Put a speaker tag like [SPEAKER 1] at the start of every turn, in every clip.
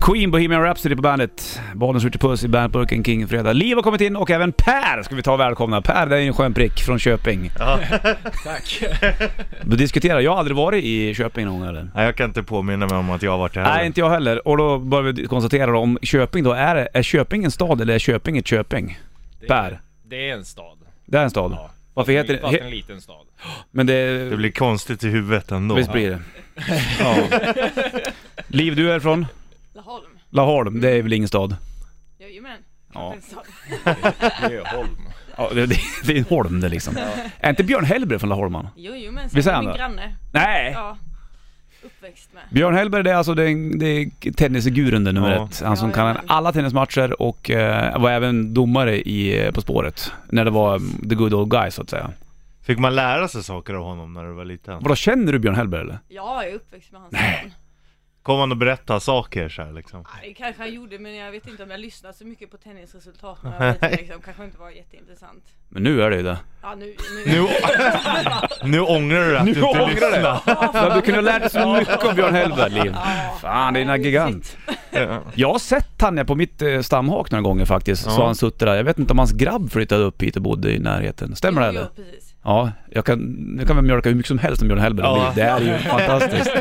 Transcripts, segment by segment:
[SPEAKER 1] Queen, Bohemian Rhapsody på bandet. Bollnäs Ritchie Puss i bandburken King Fredag. Liv har kommit in och även Per ska vi ta och välkomna. Per, det är ju en skön prick från Köping.
[SPEAKER 2] Ja.
[SPEAKER 3] Tack.
[SPEAKER 1] Du diskuterar, jag har aldrig varit i Köping någon gång eller?
[SPEAKER 2] Nej, jag kan inte påminna mig om att jag har varit där heller.
[SPEAKER 1] Nej, inte jag heller. Och då börjar vi konstatera då, om Köping då, är, det- är Köping en stad eller är Köping ett Köping?
[SPEAKER 3] Det är,
[SPEAKER 1] Per.
[SPEAKER 3] Det är en stad.
[SPEAKER 1] Det är en stad.
[SPEAKER 3] Ja.
[SPEAKER 1] Varför heter det-
[SPEAKER 3] Fast en liten stad.
[SPEAKER 1] Men det...
[SPEAKER 2] Det blir konstigt i huvudet ändå.
[SPEAKER 1] Visst blir det? Ja. Liv, du är från?
[SPEAKER 4] Laholm.
[SPEAKER 1] Laholm, det är väl ingen stad?
[SPEAKER 4] Jajamän.
[SPEAKER 1] Ja.
[SPEAKER 4] En stad.
[SPEAKER 3] Öholm.
[SPEAKER 1] Ja, det, det, det är en holm det liksom. Är inte Björn Hellberg från Laholman?
[SPEAKER 4] Jajamän.
[SPEAKER 1] Visst är
[SPEAKER 4] sen är
[SPEAKER 1] han
[SPEAKER 4] min
[SPEAKER 1] det?
[SPEAKER 4] granne.
[SPEAKER 1] Nej!
[SPEAKER 4] Ja. Uppväxt med.
[SPEAKER 1] Björn Hellberg det är alltså den, det är tennisguren den nummer
[SPEAKER 2] Ja.
[SPEAKER 1] ett. Han som
[SPEAKER 4] Ja,
[SPEAKER 1] kan
[SPEAKER 4] ja.
[SPEAKER 1] alla tennismatcher och eh, var även domare i eh, På spåret. När det var mm, the good old guys så att säga.
[SPEAKER 2] Fick man lära sig saker av honom när du var liten?
[SPEAKER 1] Vadå, känner du Björn Hellberg eller?
[SPEAKER 4] Ja, jag är uppväxt med hans son.
[SPEAKER 2] Kom han och berätta saker så här liksom?
[SPEAKER 4] Det kanske han gjorde men jag vet inte om jag lyssnade så mycket på tennisresultat när jag var liten, liksom. Kanske inte var jätteintressant.
[SPEAKER 1] Men nu är det ju det.
[SPEAKER 4] Ja nu,
[SPEAKER 2] Nu, nu ångrar du att du inte lyssnade.
[SPEAKER 1] Du hade kunnat lära dig så mycket om Björn Hellberg, Liv. Fan, det är en gigant.
[SPEAKER 2] Ja.
[SPEAKER 1] Jag har sett han på mitt eh, stamhak några gånger faktiskt, så
[SPEAKER 2] Ja.
[SPEAKER 1] han suttit där. Jag vet inte om hans grabb flyttade upp hit och bodde i närheten. Stämmer det
[SPEAKER 4] Jo,
[SPEAKER 1] eller?
[SPEAKER 4] jo, precis.
[SPEAKER 1] Ja, jag kan, jag kan väl mjölka hur mycket som helst om Björn Hellberg.
[SPEAKER 2] Ja.
[SPEAKER 1] Det är ju fantastiskt.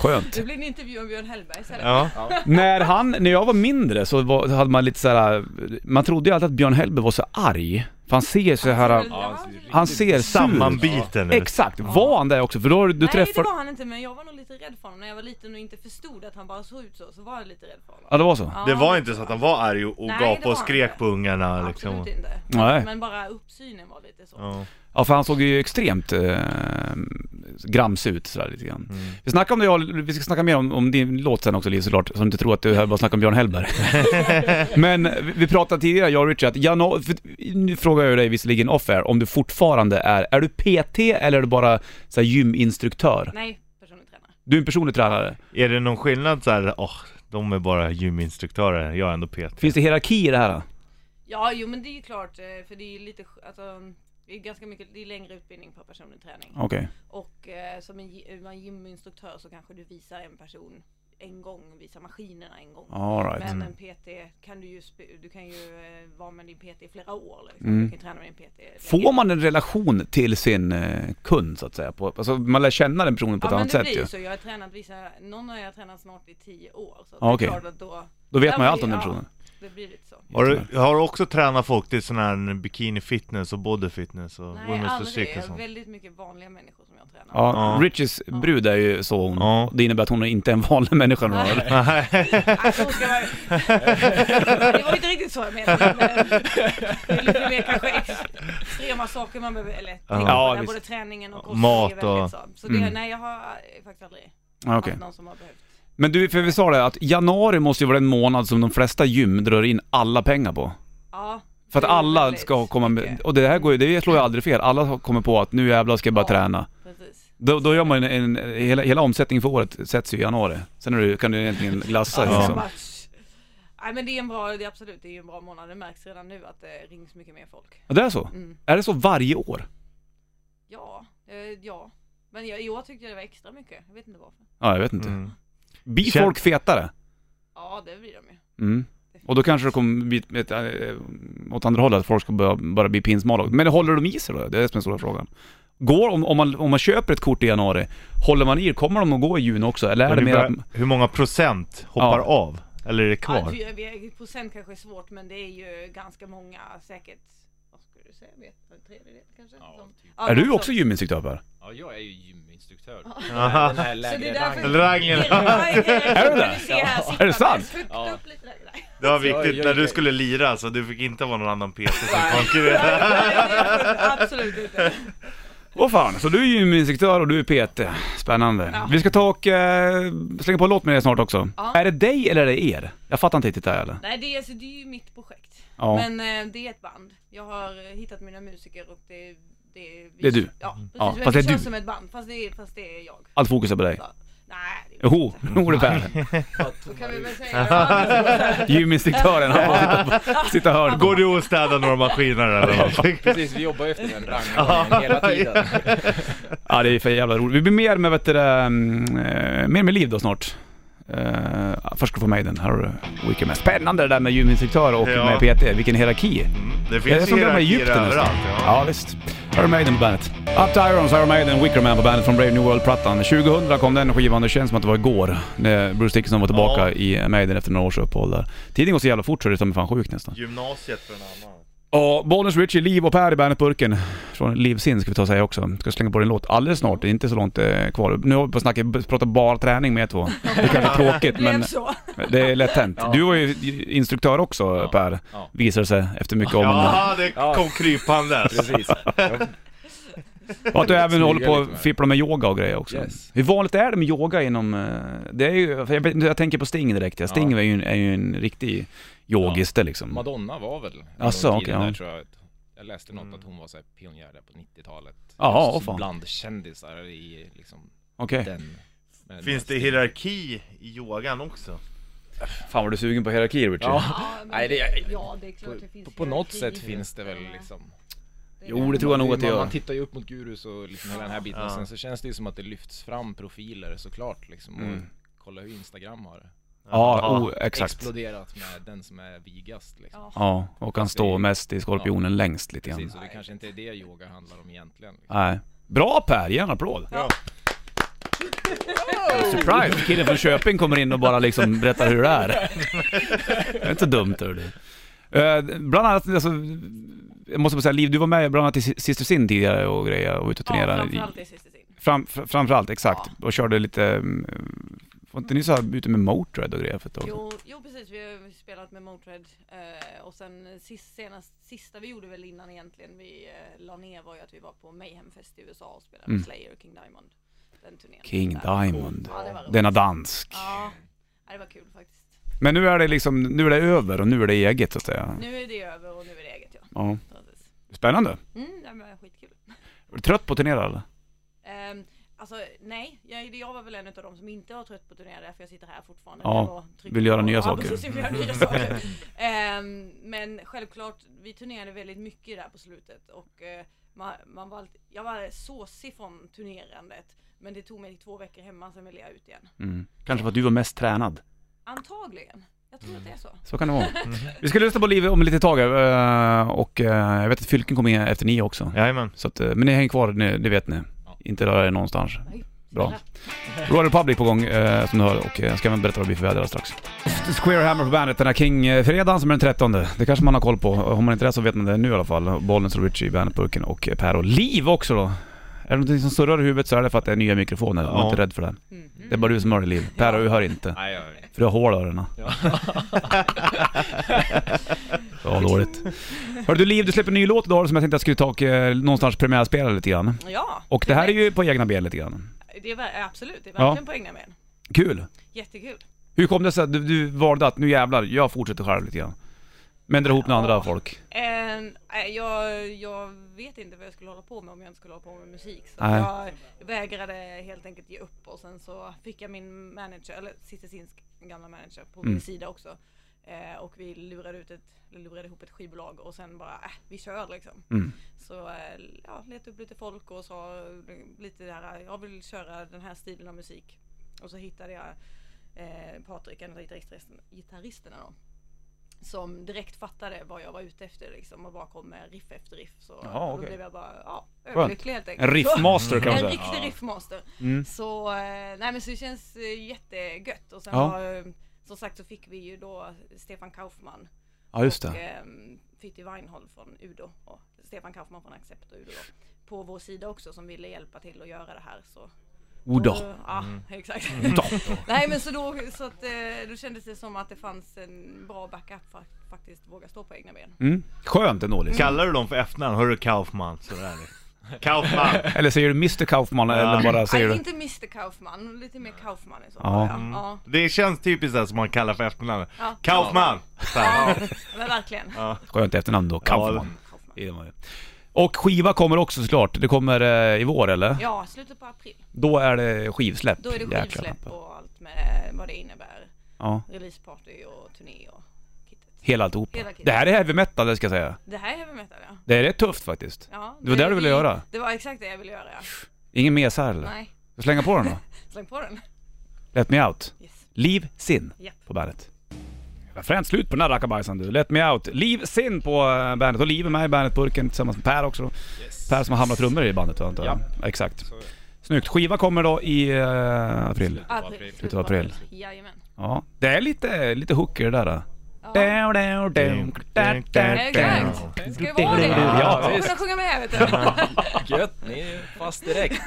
[SPEAKER 1] Skönt.
[SPEAKER 4] Det blir en intervju om Björn Hellberg istället.
[SPEAKER 2] Ja.
[SPEAKER 1] När han, när jag var mindre så var, hade man lite såhär, man trodde ju alltid att Bjön Hellberg var så arg. För han ser så här.
[SPEAKER 4] Ja,
[SPEAKER 1] han ser sur.
[SPEAKER 2] Sammanbiten nu.
[SPEAKER 1] Exakt, var han det också? För då har du du
[SPEAKER 4] Nej
[SPEAKER 1] träffar...
[SPEAKER 4] det var han inte men jag var nog lite rädd för honom när jag var liten och inte förstod att han bara såg ut så, så var jag lite rädd för honom.
[SPEAKER 1] Ja det var så?
[SPEAKER 4] Ja,
[SPEAKER 2] Det var inte så att han var arg och
[SPEAKER 4] Nej, det
[SPEAKER 2] gapade
[SPEAKER 4] var
[SPEAKER 2] och
[SPEAKER 4] han
[SPEAKER 2] skrek
[SPEAKER 4] inte.
[SPEAKER 2] på ungarna liksom.
[SPEAKER 4] Absolut inte.
[SPEAKER 1] Nej.
[SPEAKER 4] Men bara uppsynen var lite så.
[SPEAKER 2] Ja.
[SPEAKER 1] Ja för han såg ju extremt eh, grams ut sådär lite grann. Vi snackar om det, jag- vi ska snacka mer om, om din låt sen också Liv såklart, så du inte tror att du hör bara snackar om Björn Hellberg. Men vi, vi pratade tidigare, jag och Richard, att januari, för, nu frågar jag dig visserligen off air, om du fortfarande är, är du PT eller är du bara så här, gyminstruktör?
[SPEAKER 4] Nej, personlig tränare.
[SPEAKER 1] Du är en personlig tränare.
[SPEAKER 2] Är det någon skillnad så här, åh, de är bara gyminstruktörer, jag är ändå PT.
[SPEAKER 1] Finns det hierarki i det här? då?
[SPEAKER 4] Ja, jo men det är ju klart eh, för det är ju lite, sk- alltså det är ganska mycket, det är längre utbildning på personlig träning.
[SPEAKER 1] Okej.
[SPEAKER 4] Och eh, som en, gy- man gyminstruktör så kanske du visar en person en gång, visar maskinerna en gång.
[SPEAKER 1] All right.
[SPEAKER 4] Men en PT kan du ju, sp- du kan ju eh, vara med din PT i flera år. Liksom.
[SPEAKER 1] Mm.
[SPEAKER 4] Du kan ju träna med din PT. länge.
[SPEAKER 1] Får man en relation till sin eh, kund så att säga? På, alltså, man lär känna den personen på ett
[SPEAKER 4] ja,
[SPEAKER 1] annat
[SPEAKER 4] men det
[SPEAKER 1] sätt
[SPEAKER 4] blir
[SPEAKER 1] ju.
[SPEAKER 4] ju så. Jag har tränat vissa, någon har jag tränat snart i tio år. Så att
[SPEAKER 1] Ja, okej.
[SPEAKER 4] det är klart att då,
[SPEAKER 1] Då vet
[SPEAKER 4] Ja,
[SPEAKER 1] man ju
[SPEAKER 4] men
[SPEAKER 1] allt om den
[SPEAKER 4] ja.
[SPEAKER 1] personen.
[SPEAKER 4] det blir lite så.
[SPEAKER 2] Har du, har du också tränat folk till sån här bikini fitness och body fitness och
[SPEAKER 4] Nej,
[SPEAKER 2] women's
[SPEAKER 4] aldrig.
[SPEAKER 2] physique
[SPEAKER 4] Jag
[SPEAKER 2] och
[SPEAKER 4] har
[SPEAKER 2] sånt?
[SPEAKER 4] väldigt mycket vanliga människor som jag tränar.
[SPEAKER 1] Ja,
[SPEAKER 2] Ja.
[SPEAKER 1] Richies brud är ju så hon.
[SPEAKER 2] Ja.
[SPEAKER 1] Det innebär att hon inte är en vanlig människa. nu, eller?
[SPEAKER 4] Nej, så ska man... Det var inte riktigt så jag menade. Men det är lite mer kanske extrema saker man behöver, eller tänka på,
[SPEAKER 1] Ja,
[SPEAKER 4] där
[SPEAKER 1] visst.
[SPEAKER 4] både träningen och kosten
[SPEAKER 2] Mat
[SPEAKER 4] är väldigt
[SPEAKER 2] och-
[SPEAKER 4] Så, så det,
[SPEAKER 1] Mm.
[SPEAKER 4] nej jag har eh, faktiskt aldrig
[SPEAKER 1] Ja, Okej.
[SPEAKER 4] haft någon som har behövt.
[SPEAKER 1] Men du, för vi sa det att januari måste ju vara den månad som de flesta gym drar in alla pengar på.
[SPEAKER 4] Ja.
[SPEAKER 1] För att
[SPEAKER 4] det är
[SPEAKER 1] alla
[SPEAKER 4] väldigt
[SPEAKER 1] ska komma med,
[SPEAKER 4] mycket.
[SPEAKER 1] och det här går ju, det slår ju aldrig fel. Alla kommer på att nu jävlar ska jag bara
[SPEAKER 4] Ja.
[SPEAKER 1] träna.
[SPEAKER 4] Precis.
[SPEAKER 1] Då, då gör man en, en hela, hela omsättningen för året sätts ju i januari. Sen är du, kan du egentligen glassa
[SPEAKER 2] Ja.
[SPEAKER 1] liksom.
[SPEAKER 4] Ja. Nej men det är en bra, det är absolut, det är ju en bra månad. Det märks redan nu att det rings mycket mer folk.
[SPEAKER 1] Ja, det är så?
[SPEAKER 4] Mm.
[SPEAKER 1] Är det så varje år?
[SPEAKER 4] Ja, eh, ja. Men jag, i år tyckte jag det var extra mycket. Jag vet inte varför.
[SPEAKER 1] Ja, jag vet inte.
[SPEAKER 2] Mm.
[SPEAKER 1] Blir
[SPEAKER 2] Kän-
[SPEAKER 1] folk fetare?
[SPEAKER 4] Ja det blir de ju.
[SPEAKER 1] Mm. Och då kanske det kommer bli ett, äh, åt andra hållet, att folk ska börja, bara bli pinsmala. Men håller de i sig då? Det är det som är stora frågan. Går, om, om, man, om man köper ett kort i januari, håller man i det? Kommer de att gå i juni också? Eller är
[SPEAKER 2] Men
[SPEAKER 1] det
[SPEAKER 2] hur,
[SPEAKER 1] mer att...
[SPEAKER 2] bör- hur många procent hoppar
[SPEAKER 1] Ja.
[SPEAKER 2] av? Eller är det kvar?
[SPEAKER 4] Ja, vi- vi- procent kanske är svårt men det är ju ganska många säkert. Vad skulle du säga? Vet, en tredjedel kanske?
[SPEAKER 3] Ja,
[SPEAKER 4] som-
[SPEAKER 3] typ.
[SPEAKER 4] Ja,
[SPEAKER 1] Är du
[SPEAKER 4] något
[SPEAKER 1] också gyminstruktör Per?
[SPEAKER 3] Ja, jag är ju gyminstruktör.
[SPEAKER 2] Aha.
[SPEAKER 3] Den här
[SPEAKER 4] Så det
[SPEAKER 3] lägre
[SPEAKER 4] är därför-
[SPEAKER 3] rangen.
[SPEAKER 2] Rangen.
[SPEAKER 1] Är du det?
[SPEAKER 4] det?
[SPEAKER 1] Är det sant?
[SPEAKER 3] Ja.
[SPEAKER 2] Det var
[SPEAKER 3] Jag-
[SPEAKER 2] viktigt
[SPEAKER 3] jag-
[SPEAKER 2] när du
[SPEAKER 3] jag-
[SPEAKER 2] skulle lira så du fick inte vara någon annan PT som konkurrerade.
[SPEAKER 4] Absolut inte.
[SPEAKER 1] Åh fan, så du är gyminstruktör och du är PT. Spännande.
[SPEAKER 4] Ja.
[SPEAKER 1] Vi ska ta och eh, slänga på en låt med dig snart också.
[SPEAKER 4] Ja.
[SPEAKER 1] Är det dig eller är det er? Jag fattar inte riktigt det här eller?
[SPEAKER 4] Nej det är, alltså, det är ju mitt projekt.
[SPEAKER 1] Ja.
[SPEAKER 4] Men eh, det är ett band. Jag har eh, hittat mina musiker och det, det, vi,
[SPEAKER 1] Det är du. Mm.
[SPEAKER 4] Ja, precis.
[SPEAKER 1] Ja,
[SPEAKER 4] Men
[SPEAKER 1] fast det
[SPEAKER 4] det
[SPEAKER 1] är
[SPEAKER 4] känns
[SPEAKER 1] du.
[SPEAKER 4] som ett band fast det, är- fast det är jag.
[SPEAKER 1] Allt fokus är på dig.
[SPEAKER 4] Så, nej, det är
[SPEAKER 1] Jo, jo det är Per.
[SPEAKER 4] Så kan vi väl säga. Ja,
[SPEAKER 1] Gyminstruktören, han får sitta, på- sitta och hörna på.
[SPEAKER 2] Går du och städar några maskiner eller någonting?
[SPEAKER 3] Precis, vi jobbar ju efter den rangen hela tiden.
[SPEAKER 1] Ja det är för jävla roligt. Vi blir mer med, vet du, det, mm, eh, mer med liv då snart. Eh, Först ska du få Maiden, här har du Weekend Man. Spännande det där med gyminstruktör och
[SPEAKER 2] Ja.
[SPEAKER 1] med PT, vilken hierarki.
[SPEAKER 2] Mm. Det
[SPEAKER 1] Det är
[SPEAKER 2] finns
[SPEAKER 1] som det där med
[SPEAKER 2] hierarkier
[SPEAKER 1] Egypten nästan.
[SPEAKER 2] överallt. Ja.
[SPEAKER 1] Ja visst. Iron Maiden på bandet. Up to Irons, Iron Maiden, Wicker Man på bandet från Brave New World-plattan. 2000 kom den skivan, det känns som att det var igår. När Bruce Dickinson var tillbaka
[SPEAKER 2] Ja.
[SPEAKER 1] i Maiden efter några års uppehåll där. Tiden går så jävla fort så det är som fan sjukt nästan.
[SPEAKER 2] Gymnasiet för en annan.
[SPEAKER 1] Och Bollnäs Richie, Liv och Per i Bandet-burken. Från Livsin ska vi ta och säga också. Ska slänga på din låt alldeles snart, det är inte så långt eh, kvar. Nu har vi på snacket, pratar bara träning med er två. Det kanske är tråkigt
[SPEAKER 4] Det blev
[SPEAKER 1] men
[SPEAKER 4] så.
[SPEAKER 1] det är lätt hänt.
[SPEAKER 3] Ja.
[SPEAKER 1] Du var ju instruktör också
[SPEAKER 3] Ja.
[SPEAKER 1] Per,
[SPEAKER 3] Ja.
[SPEAKER 1] visar det sig efter mycket om och men.
[SPEAKER 2] Ja, det
[SPEAKER 3] Ja.
[SPEAKER 2] kom krypandes.
[SPEAKER 3] Precis. Jag,
[SPEAKER 1] Och att du även
[SPEAKER 3] Smyga
[SPEAKER 1] håller på
[SPEAKER 3] lite
[SPEAKER 1] och
[SPEAKER 3] med.
[SPEAKER 1] fipplar med yoga och grejer också.
[SPEAKER 3] Yes.
[SPEAKER 1] Hur vanligt är det med yoga inom... eh, Det är ju, för jag, vet inte, jag tänker på Sting direkt. Ja. Sting
[SPEAKER 3] Ja.
[SPEAKER 1] är, ju en, är ju en riktig yogiste liksom.
[SPEAKER 3] Madonna var väl en
[SPEAKER 1] Asså,
[SPEAKER 3] gång i
[SPEAKER 1] okej,
[SPEAKER 3] tiden
[SPEAKER 1] ja.
[SPEAKER 3] där, tror jag. Jag läste något att hon var så här pionjär där på 90-talet.
[SPEAKER 1] Jaha, åh
[SPEAKER 3] Just
[SPEAKER 1] fan. Eh.
[SPEAKER 3] Bland kändisar i liksom
[SPEAKER 1] Okej.
[SPEAKER 3] den... med-
[SPEAKER 2] Finns det
[SPEAKER 3] med-
[SPEAKER 2] hierarki i yogan också?
[SPEAKER 1] Fan vad du är sugen på hierarkier Richie.
[SPEAKER 3] Ja.
[SPEAKER 4] Ja, men
[SPEAKER 3] Nej, det- jag-
[SPEAKER 4] ja, det är klart det
[SPEAKER 3] På,
[SPEAKER 4] finns
[SPEAKER 3] på något
[SPEAKER 4] hierarki.
[SPEAKER 3] sätt finns det väl liksom...
[SPEAKER 1] Jo, det tror jag nog att det
[SPEAKER 3] man,
[SPEAKER 1] gör.
[SPEAKER 3] man tittar ju upp mot gurus och liksom hela den här biten.
[SPEAKER 2] Ja.
[SPEAKER 3] Och sen så känns det ju som att det lyfts fram profiler såklart liksom. Och
[SPEAKER 1] Mm.
[SPEAKER 3] kolla hur Instagram har
[SPEAKER 1] Ja, oh, exakt.
[SPEAKER 3] exploderat med den som är vigast liksom.
[SPEAKER 4] Ja.
[SPEAKER 1] Ja, och kan stå mest i skorpionen längst lite grann.
[SPEAKER 3] Precis, och det kanske inte är det yoga handlar om egentligen. Liksom.
[SPEAKER 1] Nej. Bra Per, ge en applåd!
[SPEAKER 2] Ja.
[SPEAKER 1] Surprise! Killen från Köping kommer in och bara liksom berättar hur det är. Det är inte dumt hördu. Eh, Bland annat, alltså, jag måste bara säga Liv, du var med bland annat i Si- Sister Sin tidigare och grejer och ute och
[SPEAKER 4] Ja,
[SPEAKER 1] turnerade.
[SPEAKER 4] framförallt i sista sin.
[SPEAKER 1] Fram, fr- framförallt, exakt. Och körde lite, mm, var inte ni så här ute med Motörhead och grejer för ett tag sedan?
[SPEAKER 4] Jo, jo precis, vi har ju spelat med Motörhead eh, och sen sist, senast, sista vi gjorde väl innan egentligen vi eh, la ner var ju att vi var på Mayhemfest i USA och spelade
[SPEAKER 1] Mm.
[SPEAKER 4] med Slayer och King Diamond. Den turnén.
[SPEAKER 1] King
[SPEAKER 4] Där.
[SPEAKER 1] Diamond,
[SPEAKER 4] Ja, det var roligt.
[SPEAKER 1] denna dansk.
[SPEAKER 4] Ja, ja, det var kul faktiskt.
[SPEAKER 1] Men nu är det liksom, nu är det över och nu är det eget så att säga.
[SPEAKER 4] Nu är det över och nu är det eget ja.
[SPEAKER 1] Ja.
[SPEAKER 4] Precis.
[SPEAKER 1] Spännande.
[SPEAKER 4] Mm, nej, men skitkul.
[SPEAKER 1] Är du trött på att turnera eller?
[SPEAKER 4] Um, alltså nej, jag, jag var väl en av de som inte var trött på turnera därför jag sitter här fortfarande.
[SPEAKER 1] Ja,
[SPEAKER 4] och trycker
[SPEAKER 1] vill göra
[SPEAKER 4] på.
[SPEAKER 1] nya
[SPEAKER 4] ja,
[SPEAKER 1] saker.
[SPEAKER 4] Precis, vill göra nya saker. Ehm, men självklart, vi turnerade väldigt mycket där på slutet och eh, man, man var alltid, jag var såsig från turnerandet. Men det tog mig två veckor hemma, sen ville jag ut igen.
[SPEAKER 1] Mm. Kanske för att du var mest tränad.
[SPEAKER 4] Antagligen. Jag tror att det är så.
[SPEAKER 1] Så kan det vara. Vi ska lyssna på Liv om lite tag eh, och eh, jag vet att Fylken kommer in efter nio också.
[SPEAKER 2] Jajamän.
[SPEAKER 1] Så att, eh, men ni hänger kvar, ni, det vet ni.
[SPEAKER 3] Ja.
[SPEAKER 1] Inte röra er någonstans.
[SPEAKER 4] Nej,
[SPEAKER 1] Bra.
[SPEAKER 4] snälla.
[SPEAKER 1] Royal Republic på gång eh, som du hör och eh, jag ska även berätta vad det blir för väder alldeles strax. Square Hammer på bandet den här King-fredagen som är den 13. Det kanske man har koll på. Har man inte det så vet man det nu i alla fall. Bollnäs och Richie i bandetburken och eh, Per och Liv också då. Är det någonting som surrar i huvudet så är det för att det är nya mikrofoner. Var
[SPEAKER 2] Ja.
[SPEAKER 1] inte rädd för det.
[SPEAKER 4] Mm.
[SPEAKER 1] Det är bara du som hör det Liv. Per du hör inte.
[SPEAKER 3] Nej, jag vet.
[SPEAKER 1] För du har hål i öronen.
[SPEAKER 3] Ja.
[SPEAKER 1] Ja, dåligt. Hörru du Liv, du släpper en ny låt idag som jag tänkte att jag skulle ta och eh, någonstans premiärspela lite grann.
[SPEAKER 4] Ja,
[SPEAKER 1] Och det här är ju på egna ben lite grann.
[SPEAKER 4] det är, ver- absolut, det är
[SPEAKER 1] Ja.
[SPEAKER 4] verkligen på egna ben.
[SPEAKER 1] Kul!
[SPEAKER 4] Jättekul.
[SPEAKER 1] Hur kom det sig att du, du valde att nu jävlar, jag fortsätter själv lite grann? Men drar ihop med andra
[SPEAKER 4] Ja.
[SPEAKER 1] folk?
[SPEAKER 4] Eh, nej, jag, jag vet inte vad jag skulle hålla på med om jag inte skulle hålla på med musik. Så
[SPEAKER 1] Nej.
[SPEAKER 4] jag vägrade helt enkelt ge upp och sen så fick jag min manager, eller Cicesinsk gamla manager på
[SPEAKER 1] Mm.
[SPEAKER 4] min sida också. Eh, och vi lurade, ut ett, eller lurade ihop ett skivbolag och sen bara, äh, vi kör liksom.
[SPEAKER 1] Mm.
[SPEAKER 4] Så eh, ja, letade upp lite folk och sa eh, lite det här, jag vill köra den här stilen av musik. Och så hittade jag eh, Patrik, en av gitarristen- gitarristerna då. Som direkt fattade vad jag var ute efter liksom och bara kom med riff efter riff. Så
[SPEAKER 1] Jaha,
[SPEAKER 4] då
[SPEAKER 1] okej.
[SPEAKER 4] blev jag bara, ja,
[SPEAKER 1] Skönt.
[SPEAKER 4] överlycklig helt enkelt.
[SPEAKER 1] En riffmaster kan man säga.
[SPEAKER 4] En riktig riffmaster.
[SPEAKER 1] Mm.
[SPEAKER 4] Så, eh, nej men så det känns eh, jättegött. Och sen
[SPEAKER 1] Ja.
[SPEAKER 4] har, eh, som sagt så fick vi ju då Stefan Kaufman
[SPEAKER 1] Ja, just
[SPEAKER 4] och
[SPEAKER 1] det.
[SPEAKER 4] eh, Fytti Weinhold från Udo och Stefan Kaufman från Accept och Udo då, på vår sida också som ville hjälpa till att göra det här. Så
[SPEAKER 1] Oda.
[SPEAKER 4] då- Ja, exakt. Nej men så då, så att, eh, då kändes det som att det fanns en bra backup för att faktiskt våga stå på egna ben.
[SPEAKER 1] Mm. Skönt ändå liksom.
[SPEAKER 2] Kallar du dem för efternamn? Hörru Kaufman, sådär. Kaufman!
[SPEAKER 1] Eller säger du Mr Kaufman eller bara säger
[SPEAKER 4] Nej,
[SPEAKER 1] du...
[SPEAKER 4] inte Mr Kaufman, lite mer Kaufman i så
[SPEAKER 1] Ja. Mm.
[SPEAKER 4] fall. Ja. Ja.
[SPEAKER 2] Det känns typiskt det som man kallar för efternamn.
[SPEAKER 4] Ja.
[SPEAKER 2] Kaufman! Så här.
[SPEAKER 4] Men verkligen.
[SPEAKER 1] Skönt efternamn då, Kaufman.
[SPEAKER 4] Kaufman.
[SPEAKER 1] Det är man ju. Och skiva kommer också såklart. Det kommer eh, i vår eller?
[SPEAKER 4] Ja, slutet på april.
[SPEAKER 1] Då är det skivsläpp.
[SPEAKER 4] Då är det
[SPEAKER 1] Jäklar.
[SPEAKER 4] skivsläpp och allt med vad det innebär.
[SPEAKER 1] Ja.
[SPEAKER 4] Releaseparty och turné och kittet.
[SPEAKER 1] Hela alltihop.
[SPEAKER 4] Hela kittet.
[SPEAKER 1] Det här är heavy metal det ska jag säga.
[SPEAKER 4] Det här är heavy metal ja.
[SPEAKER 1] Det är rätt tufft faktiskt.
[SPEAKER 4] ja
[SPEAKER 1] Det var det du ville göra.
[SPEAKER 4] Det var exakt det jag ville göra ja.
[SPEAKER 1] Ingen mes här eller?
[SPEAKER 4] Nej,
[SPEAKER 1] Ska jag slänga på den då?
[SPEAKER 4] släng på den.
[SPEAKER 1] Let me out.
[SPEAKER 4] Yes.
[SPEAKER 1] Liv Sin
[SPEAKER 4] Japp.
[SPEAKER 1] på bandet. Jävla Fränt slut på den här rackabajsan du. Let me out. Liv Sin på eh, bandet. Och Liv är med i bandetburken tillsammans med Per också då.
[SPEAKER 3] Yes.
[SPEAKER 1] Per som har hamnat trummor i bandet antar jag. Ja. Exakt.
[SPEAKER 3] Så,
[SPEAKER 1] Snyggt. Skiva kommer då i eh, april.
[SPEAKER 3] Slutet av april.
[SPEAKER 1] Slutet av april.
[SPEAKER 4] Jajamän.
[SPEAKER 1] Ja. Det är lite, lite hook i det där. Då.
[SPEAKER 4] Ja.
[SPEAKER 1] Down, down, down, down, down, down.
[SPEAKER 4] Exakt. Det ska vara det.
[SPEAKER 1] Ja,
[SPEAKER 4] Man ska
[SPEAKER 3] visst.
[SPEAKER 4] kunna sjunga med vet du.
[SPEAKER 3] Gött, ni är fast direkt.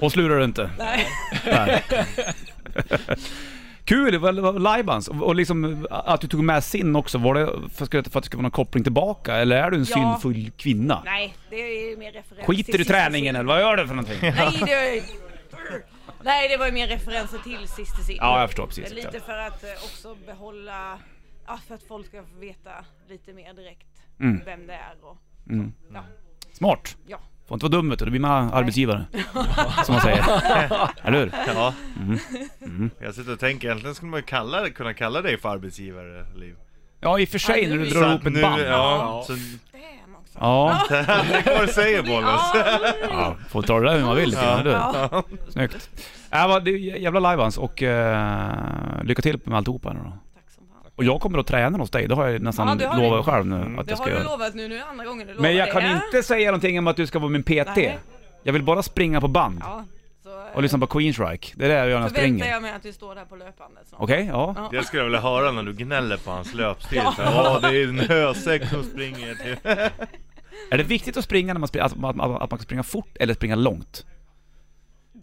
[SPEAKER 1] Och slurar du inte.
[SPEAKER 4] Nej.
[SPEAKER 1] Nej. Kul, det var- det var livebands och och liksom att du tog med sin också, var det för att för att det skulle vara någon koppling tillbaka eller är du en
[SPEAKER 4] Ja.
[SPEAKER 1] syndfull kvinna?
[SPEAKER 4] Nej, det är mer referens.
[SPEAKER 1] Skiter
[SPEAKER 4] till
[SPEAKER 1] du i
[SPEAKER 4] sista
[SPEAKER 1] träningen eller vad gör du för någonting?
[SPEAKER 4] Nej, det var, Nej, det var ju mer referenser till Sister Sin.
[SPEAKER 1] Ja, jag förstår precis.
[SPEAKER 4] Lite för att eh, också behålla, ja, för att folk ska få veta lite mer direkt
[SPEAKER 1] Mm.
[SPEAKER 4] vem det är och så. Ja,
[SPEAKER 1] Smart!
[SPEAKER 4] ja.
[SPEAKER 1] Får inte vara dum vet du, då blir man arbetsgivare. Som man säger. Eller hur?
[SPEAKER 2] Ja.
[SPEAKER 1] Mm.
[SPEAKER 2] Jag sitter och tänker, egentligen skulle man ju kalla, det- kunna kalla dig för arbetsgivare, Liv.
[SPEAKER 1] Ja i och för sig
[SPEAKER 4] Ja,
[SPEAKER 1] när du
[SPEAKER 4] nu-
[SPEAKER 1] drar ihop
[SPEAKER 2] nu-
[SPEAKER 1] ett band.
[SPEAKER 2] Ja, så
[SPEAKER 4] Damn också.
[SPEAKER 1] Ja,
[SPEAKER 2] Sägerbollen.
[SPEAKER 1] ja. får ta det där hur man vill lite grann, eller hur?
[SPEAKER 4] Ja,
[SPEAKER 1] Snyggt. Äh, vad, det är ju jävla livebands och eh, lycka till med alltihopa nu då.
[SPEAKER 4] tack som fan.
[SPEAKER 1] Och jag kommer att träna hos dig, det har jag nästan
[SPEAKER 4] Ja, det har
[SPEAKER 1] lovat
[SPEAKER 4] du. Mm.
[SPEAKER 1] själv nu att
[SPEAKER 4] Det
[SPEAKER 1] jag
[SPEAKER 4] har
[SPEAKER 1] ska
[SPEAKER 4] du
[SPEAKER 1] göra.
[SPEAKER 4] lovat nu, nu är det andra gången du lovar
[SPEAKER 1] Men jag
[SPEAKER 4] det.
[SPEAKER 1] kan inte säga någonting om att du ska vara min PT.
[SPEAKER 4] Nej.
[SPEAKER 1] Jag vill bara springa på band
[SPEAKER 4] Ja, så eh,
[SPEAKER 1] och lyssna på Queensryche. Det är det jag gör när jag
[SPEAKER 4] förväntar
[SPEAKER 1] springer.
[SPEAKER 4] jag mig att du står där på löpbandet snart.
[SPEAKER 1] Okej, ja.
[SPEAKER 4] Ja.
[SPEAKER 2] Det skulle jag vilja höra när du gnäller på hans löpstil. Ja, det är en hösäck som springer till...
[SPEAKER 1] Är det viktigt att springa när man springer, att, att, att, att man ska springa fort eller springa långt?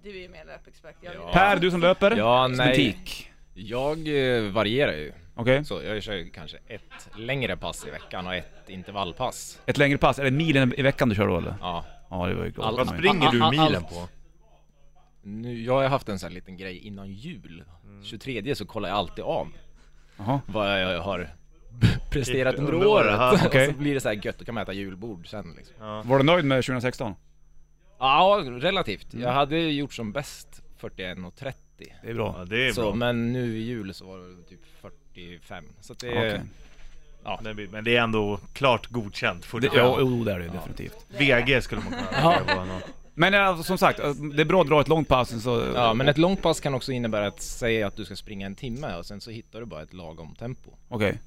[SPEAKER 4] Du är ju mer löpexpert. Jag
[SPEAKER 3] Ja.
[SPEAKER 1] Per, du som löper?
[SPEAKER 3] Ja,
[SPEAKER 1] Som en
[SPEAKER 3] nej.
[SPEAKER 1] tik.
[SPEAKER 3] Jag eh, varierar ju.
[SPEAKER 1] Okej.
[SPEAKER 3] Så jag kör ju kanske ett längre pass i veckan och ett intervallpass.
[SPEAKER 1] Ett längre pass, är det milen i veckan du kör då eller?
[SPEAKER 3] Ja.
[SPEAKER 1] Ja, det var ju
[SPEAKER 3] All-
[SPEAKER 1] klart.
[SPEAKER 2] Vad
[SPEAKER 1] Nej.
[SPEAKER 2] springer du
[SPEAKER 3] Ah, ah, ah,
[SPEAKER 2] milen
[SPEAKER 3] allt.
[SPEAKER 2] på?
[SPEAKER 3] Nu, jag har haft en sån här liten grej innan jul.
[SPEAKER 1] Mm.
[SPEAKER 3] 23 så kollar jag alltid av
[SPEAKER 1] Jaha.
[SPEAKER 3] vad jag har presterat Typ under
[SPEAKER 2] Under året,
[SPEAKER 3] året.
[SPEAKER 2] ja,
[SPEAKER 1] okej.
[SPEAKER 3] Och så blir det så här gött, då kan man äta julbord sen liksom.
[SPEAKER 1] Var du nöjd med 2016?
[SPEAKER 3] Ja, relativt. Jag hade ju gjort som bäst 41.30.
[SPEAKER 1] Det är bra.
[SPEAKER 2] Ja, det är
[SPEAKER 3] Så,
[SPEAKER 2] bra.
[SPEAKER 3] men nu i jul så var det typ 45. Så att det...
[SPEAKER 1] Okej.
[SPEAKER 2] Men- Men det är ändå klart godkänt.
[SPEAKER 1] Det,
[SPEAKER 2] fortfarande.
[SPEAKER 1] ja, jo, det är det ju definitivt.
[SPEAKER 2] VG skulle man kunna säga på honom.
[SPEAKER 1] Men alltså, som sagt, det är bra att dra ett långt pass så...
[SPEAKER 3] Ja, men ett långt pass kan också innebära att säga att du ska springa en timme och sen så hittar du bara ett lagom tempo.
[SPEAKER 1] Okej.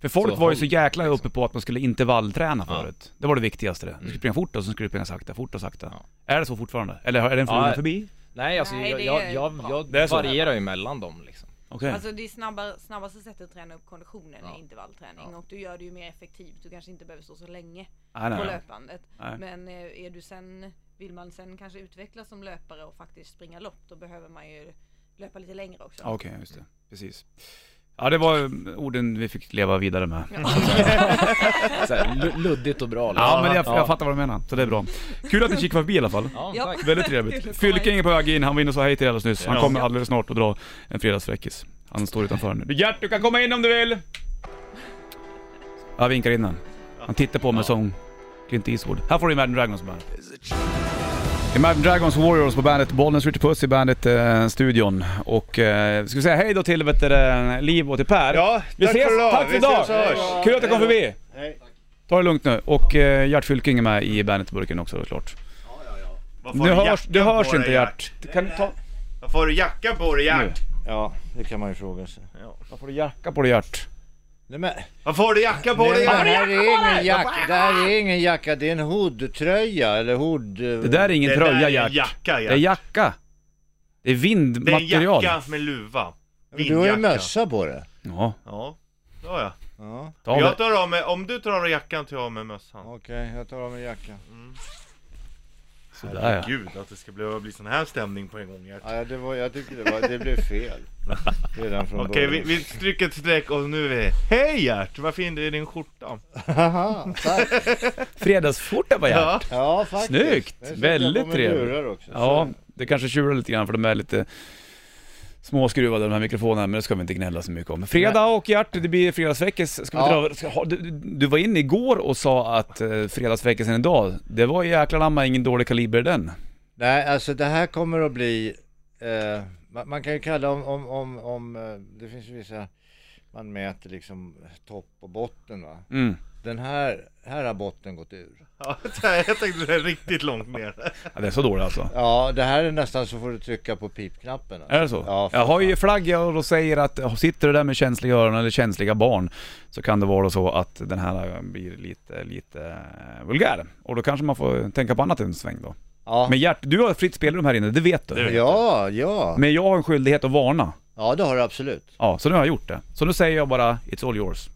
[SPEAKER 1] För folk
[SPEAKER 3] Så
[SPEAKER 1] var ju
[SPEAKER 3] håll,
[SPEAKER 1] så jäkla uppe på att man skulle intervallträna
[SPEAKER 3] Ja. Mm.
[SPEAKER 1] förut. Det var det viktigaste det. Du skulle springa fort och så skulle du springa sakta, fort och sakta.
[SPEAKER 3] Ja.
[SPEAKER 1] Är det så fortfarande? Eller är den frågan
[SPEAKER 3] Ja.
[SPEAKER 1] förbi?
[SPEAKER 3] Nej, alltså
[SPEAKER 4] Nej,
[SPEAKER 3] jag,
[SPEAKER 4] det är
[SPEAKER 3] jag, jag,
[SPEAKER 4] bra.
[SPEAKER 3] jag
[SPEAKER 1] Det är så.
[SPEAKER 3] varierar ju mellan dem liksom.
[SPEAKER 1] Okej.
[SPEAKER 4] Alltså det är snabba, snabbaste sättet att träna upp konditionen
[SPEAKER 3] Ja.
[SPEAKER 4] är intervallträning
[SPEAKER 3] Ja.
[SPEAKER 4] och du gör det ju mer effektivt. Du kanske inte behöver stå så länge
[SPEAKER 1] Nej, nej,
[SPEAKER 4] på
[SPEAKER 1] nej.
[SPEAKER 4] löpandet.
[SPEAKER 1] Nej.
[SPEAKER 4] Men eh, är du sen, vill man sen kanske utvecklas som löpare och faktiskt springa lopp då behöver man ju löpa lite längre också.
[SPEAKER 1] Ja, Okej, just det. Precis. Ja, det var eh, orden vi fick leva vidare med.
[SPEAKER 3] Så här, lu- luddigt och bra liksom.
[SPEAKER 1] Ja, men jag, jag
[SPEAKER 3] Ja.
[SPEAKER 1] fattar vad du menar. Så det är bra. Kul att ni kikade förbi i alla fall.
[SPEAKER 3] Ja,
[SPEAKER 4] Ja.
[SPEAKER 3] tack.
[SPEAKER 1] Väldigt
[SPEAKER 4] Kul att komma
[SPEAKER 1] trevligt.
[SPEAKER 4] hit.
[SPEAKER 1] Fylking är på väg in, han var inne och sa hej till er alldeles nyss. Han
[SPEAKER 2] Ja.
[SPEAKER 1] kommer alldeles snart och dra en fredagsfräckis. Han står utanför nu. Gert, du kan komma in om du vill! Jag vinkar in han. Han tittar på mig som Clint Eastwood. Här får du Imagine Dragons på bandet. Imagine Dragons Warriors på bandet, Bollnäs Ritchie Puss i bandet-studion. och eh, ska vi säga hej då till vet du, det, Liv och till Per?
[SPEAKER 2] Ja,
[SPEAKER 1] vi
[SPEAKER 2] tack
[SPEAKER 1] ses,
[SPEAKER 2] för idag.
[SPEAKER 1] Tack för
[SPEAKER 2] Vi
[SPEAKER 1] idag!
[SPEAKER 2] ses och hörs.
[SPEAKER 1] Kul att du kom förbi!
[SPEAKER 5] Hej.
[SPEAKER 1] Ta det lugnt nu. Och eh, Gert Fylking är med i bandetburken också såklart.
[SPEAKER 2] Varför har
[SPEAKER 1] Nu
[SPEAKER 2] du
[SPEAKER 1] hörs,
[SPEAKER 2] jackan
[SPEAKER 1] det hörs
[SPEAKER 2] på
[SPEAKER 1] inte
[SPEAKER 2] dig,
[SPEAKER 1] Gert. Kan du ta...
[SPEAKER 2] Varför har du jackan på dig
[SPEAKER 1] Nu.
[SPEAKER 2] Gert?
[SPEAKER 5] Ja, det kan man ju fråga sig.
[SPEAKER 1] Varför har du jacka på dig Gert?
[SPEAKER 5] Nej, men,
[SPEAKER 2] Varför har du jackan på
[SPEAKER 5] nej, men
[SPEAKER 2] dig Gert?
[SPEAKER 5] det, här är ingen jacka, det här är ingen jacka, det är en hoodtröja eller hood... eh,
[SPEAKER 1] Det där är ingen
[SPEAKER 2] Det där
[SPEAKER 1] tröja
[SPEAKER 2] är en
[SPEAKER 1] Gert.
[SPEAKER 2] jacka,
[SPEAKER 1] Det
[SPEAKER 2] Gert.
[SPEAKER 1] är jacka. Det är
[SPEAKER 2] Det är en
[SPEAKER 1] vindmaterial.
[SPEAKER 2] jacka med luva.
[SPEAKER 5] Du har ju
[SPEAKER 2] Vindjacka.
[SPEAKER 5] mössa på dig.
[SPEAKER 1] Ja,
[SPEAKER 2] Ja, då ja.
[SPEAKER 5] Ja,
[SPEAKER 1] ta av
[SPEAKER 2] jag
[SPEAKER 1] det.
[SPEAKER 2] tar av mig, om du tar av dig jackan tar jag av mig mössan.
[SPEAKER 5] okej, jag tar av mig jackan.
[SPEAKER 1] Sådär ja.
[SPEAKER 2] Gud, att det ska bli, bli sån här stämning på en gång Gert.
[SPEAKER 5] Ja, det var, jag tycker det, var, det blev fel. Redan från
[SPEAKER 2] Okej, vi,
[SPEAKER 5] början.
[SPEAKER 2] vi stryker ett streck och nu är vi... Hej Gert! Vad fin du är i din skjorta.
[SPEAKER 5] Haha, tack.
[SPEAKER 1] Fredagsskjorta på Gert.
[SPEAKER 2] Ja.
[SPEAKER 5] Ja, faktiskt.
[SPEAKER 1] Snyggt,
[SPEAKER 5] Jag sitter
[SPEAKER 1] väldigt
[SPEAKER 5] på med
[SPEAKER 1] trevligt.
[SPEAKER 5] lurar Också,
[SPEAKER 1] Ja, det kanske tjurar lite grann för de är lite småskruvade de här mikrofonerna, men det ska vi inte gnälla så mycket om. Fredag och Gert, det blir fredagsveckis. Ska vi
[SPEAKER 5] Ja.
[SPEAKER 1] dra, ska, ha- du, du var inne igår och sa att eh, fredagsveckisen idag, det var jäklar anamma ingen dålig kaliber den.
[SPEAKER 5] Nej, alltså det här kommer att bli, eh, man, man kan ju kalla om, om, om, om eh, det finns ju vissa, man mäter liksom topp och botten va.
[SPEAKER 1] Mm.
[SPEAKER 5] den här, här har botten gått ur.
[SPEAKER 2] Ja, jag tänkte det är riktigt långt ner.
[SPEAKER 1] Ja, det är så dåligt alltså.
[SPEAKER 5] Ja, det här är nästan så får du trycka på pipknappen. alltså.
[SPEAKER 1] Är det så?
[SPEAKER 5] Ja, för
[SPEAKER 1] jag har ju
[SPEAKER 5] fan.
[SPEAKER 1] flagga och då säger att eh, sitter du där med känsliga öron eller känsliga barn så kan det vara så att den här blir lite, lite eh, vulgär. Och då kanske man får tänka på annat en sväng då.
[SPEAKER 5] Ja,
[SPEAKER 1] Men Gert, du har fritt spelrum här inne, det vet du.
[SPEAKER 2] Det vet
[SPEAKER 5] ja, ja.
[SPEAKER 1] Men jag har en skyldighet att varna.
[SPEAKER 5] Ja, det har du absolut.
[SPEAKER 1] Ja, så nu har jag gjort det. Så nu säger jag bara It's all yours.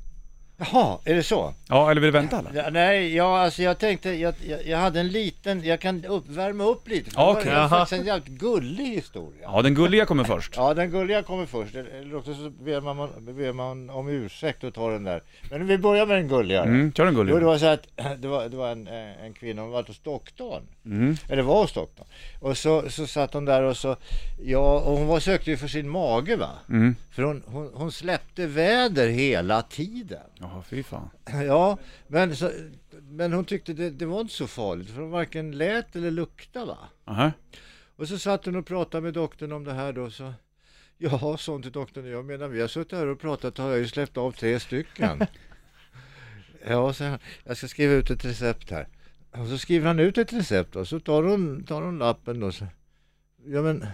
[SPEAKER 5] Jaha, är det så?
[SPEAKER 1] Ja, eller vill du vänta eller?
[SPEAKER 5] Ja, Nej, ja, alltså jag tänkte, jag, jag, jag hade en liten, jag kan upp, värma upp lite. för det
[SPEAKER 1] Ja,
[SPEAKER 5] var-
[SPEAKER 1] okej.
[SPEAKER 5] Det var
[SPEAKER 2] Jaha.
[SPEAKER 5] faktiskt en jävligt gullig historia.
[SPEAKER 1] Ja, den gulliga kommer först.
[SPEAKER 5] Ja, den gulliga kommer först. Eller också så ber man, ber man om ursäkt och tar den där. Men vi börjar med den gulliga. då.
[SPEAKER 1] Mm, kör den
[SPEAKER 5] Jo, det
[SPEAKER 1] gulliga.
[SPEAKER 5] var så att det var, det var en, eh, en kvinna, hon var hos doktorn.
[SPEAKER 1] Mm.
[SPEAKER 5] Eller var hos doktorn. Och så, så satt hon där och så, ja, och hon var, sökte ju för sin mage va.
[SPEAKER 1] Mm.
[SPEAKER 5] För hon, hon, hon släppte väder hela tiden.
[SPEAKER 1] Ja, fy fan.
[SPEAKER 5] Ja, men, så, men hon tyckte det, det var inte så farligt för hon varken lät eller luktade va.
[SPEAKER 1] Aha.
[SPEAKER 5] Och så satt hon och pratade med doktorn om det här då så Ja, sånt till doktorn. Jag menar, vi har suttit här och pratat har jag ju släppt av tre stycken. ja, så här, jag ska skriva ut ett recept här. Och så skriver han ut ett recept och så tar hon, tar hon lappen då. Så, ja, men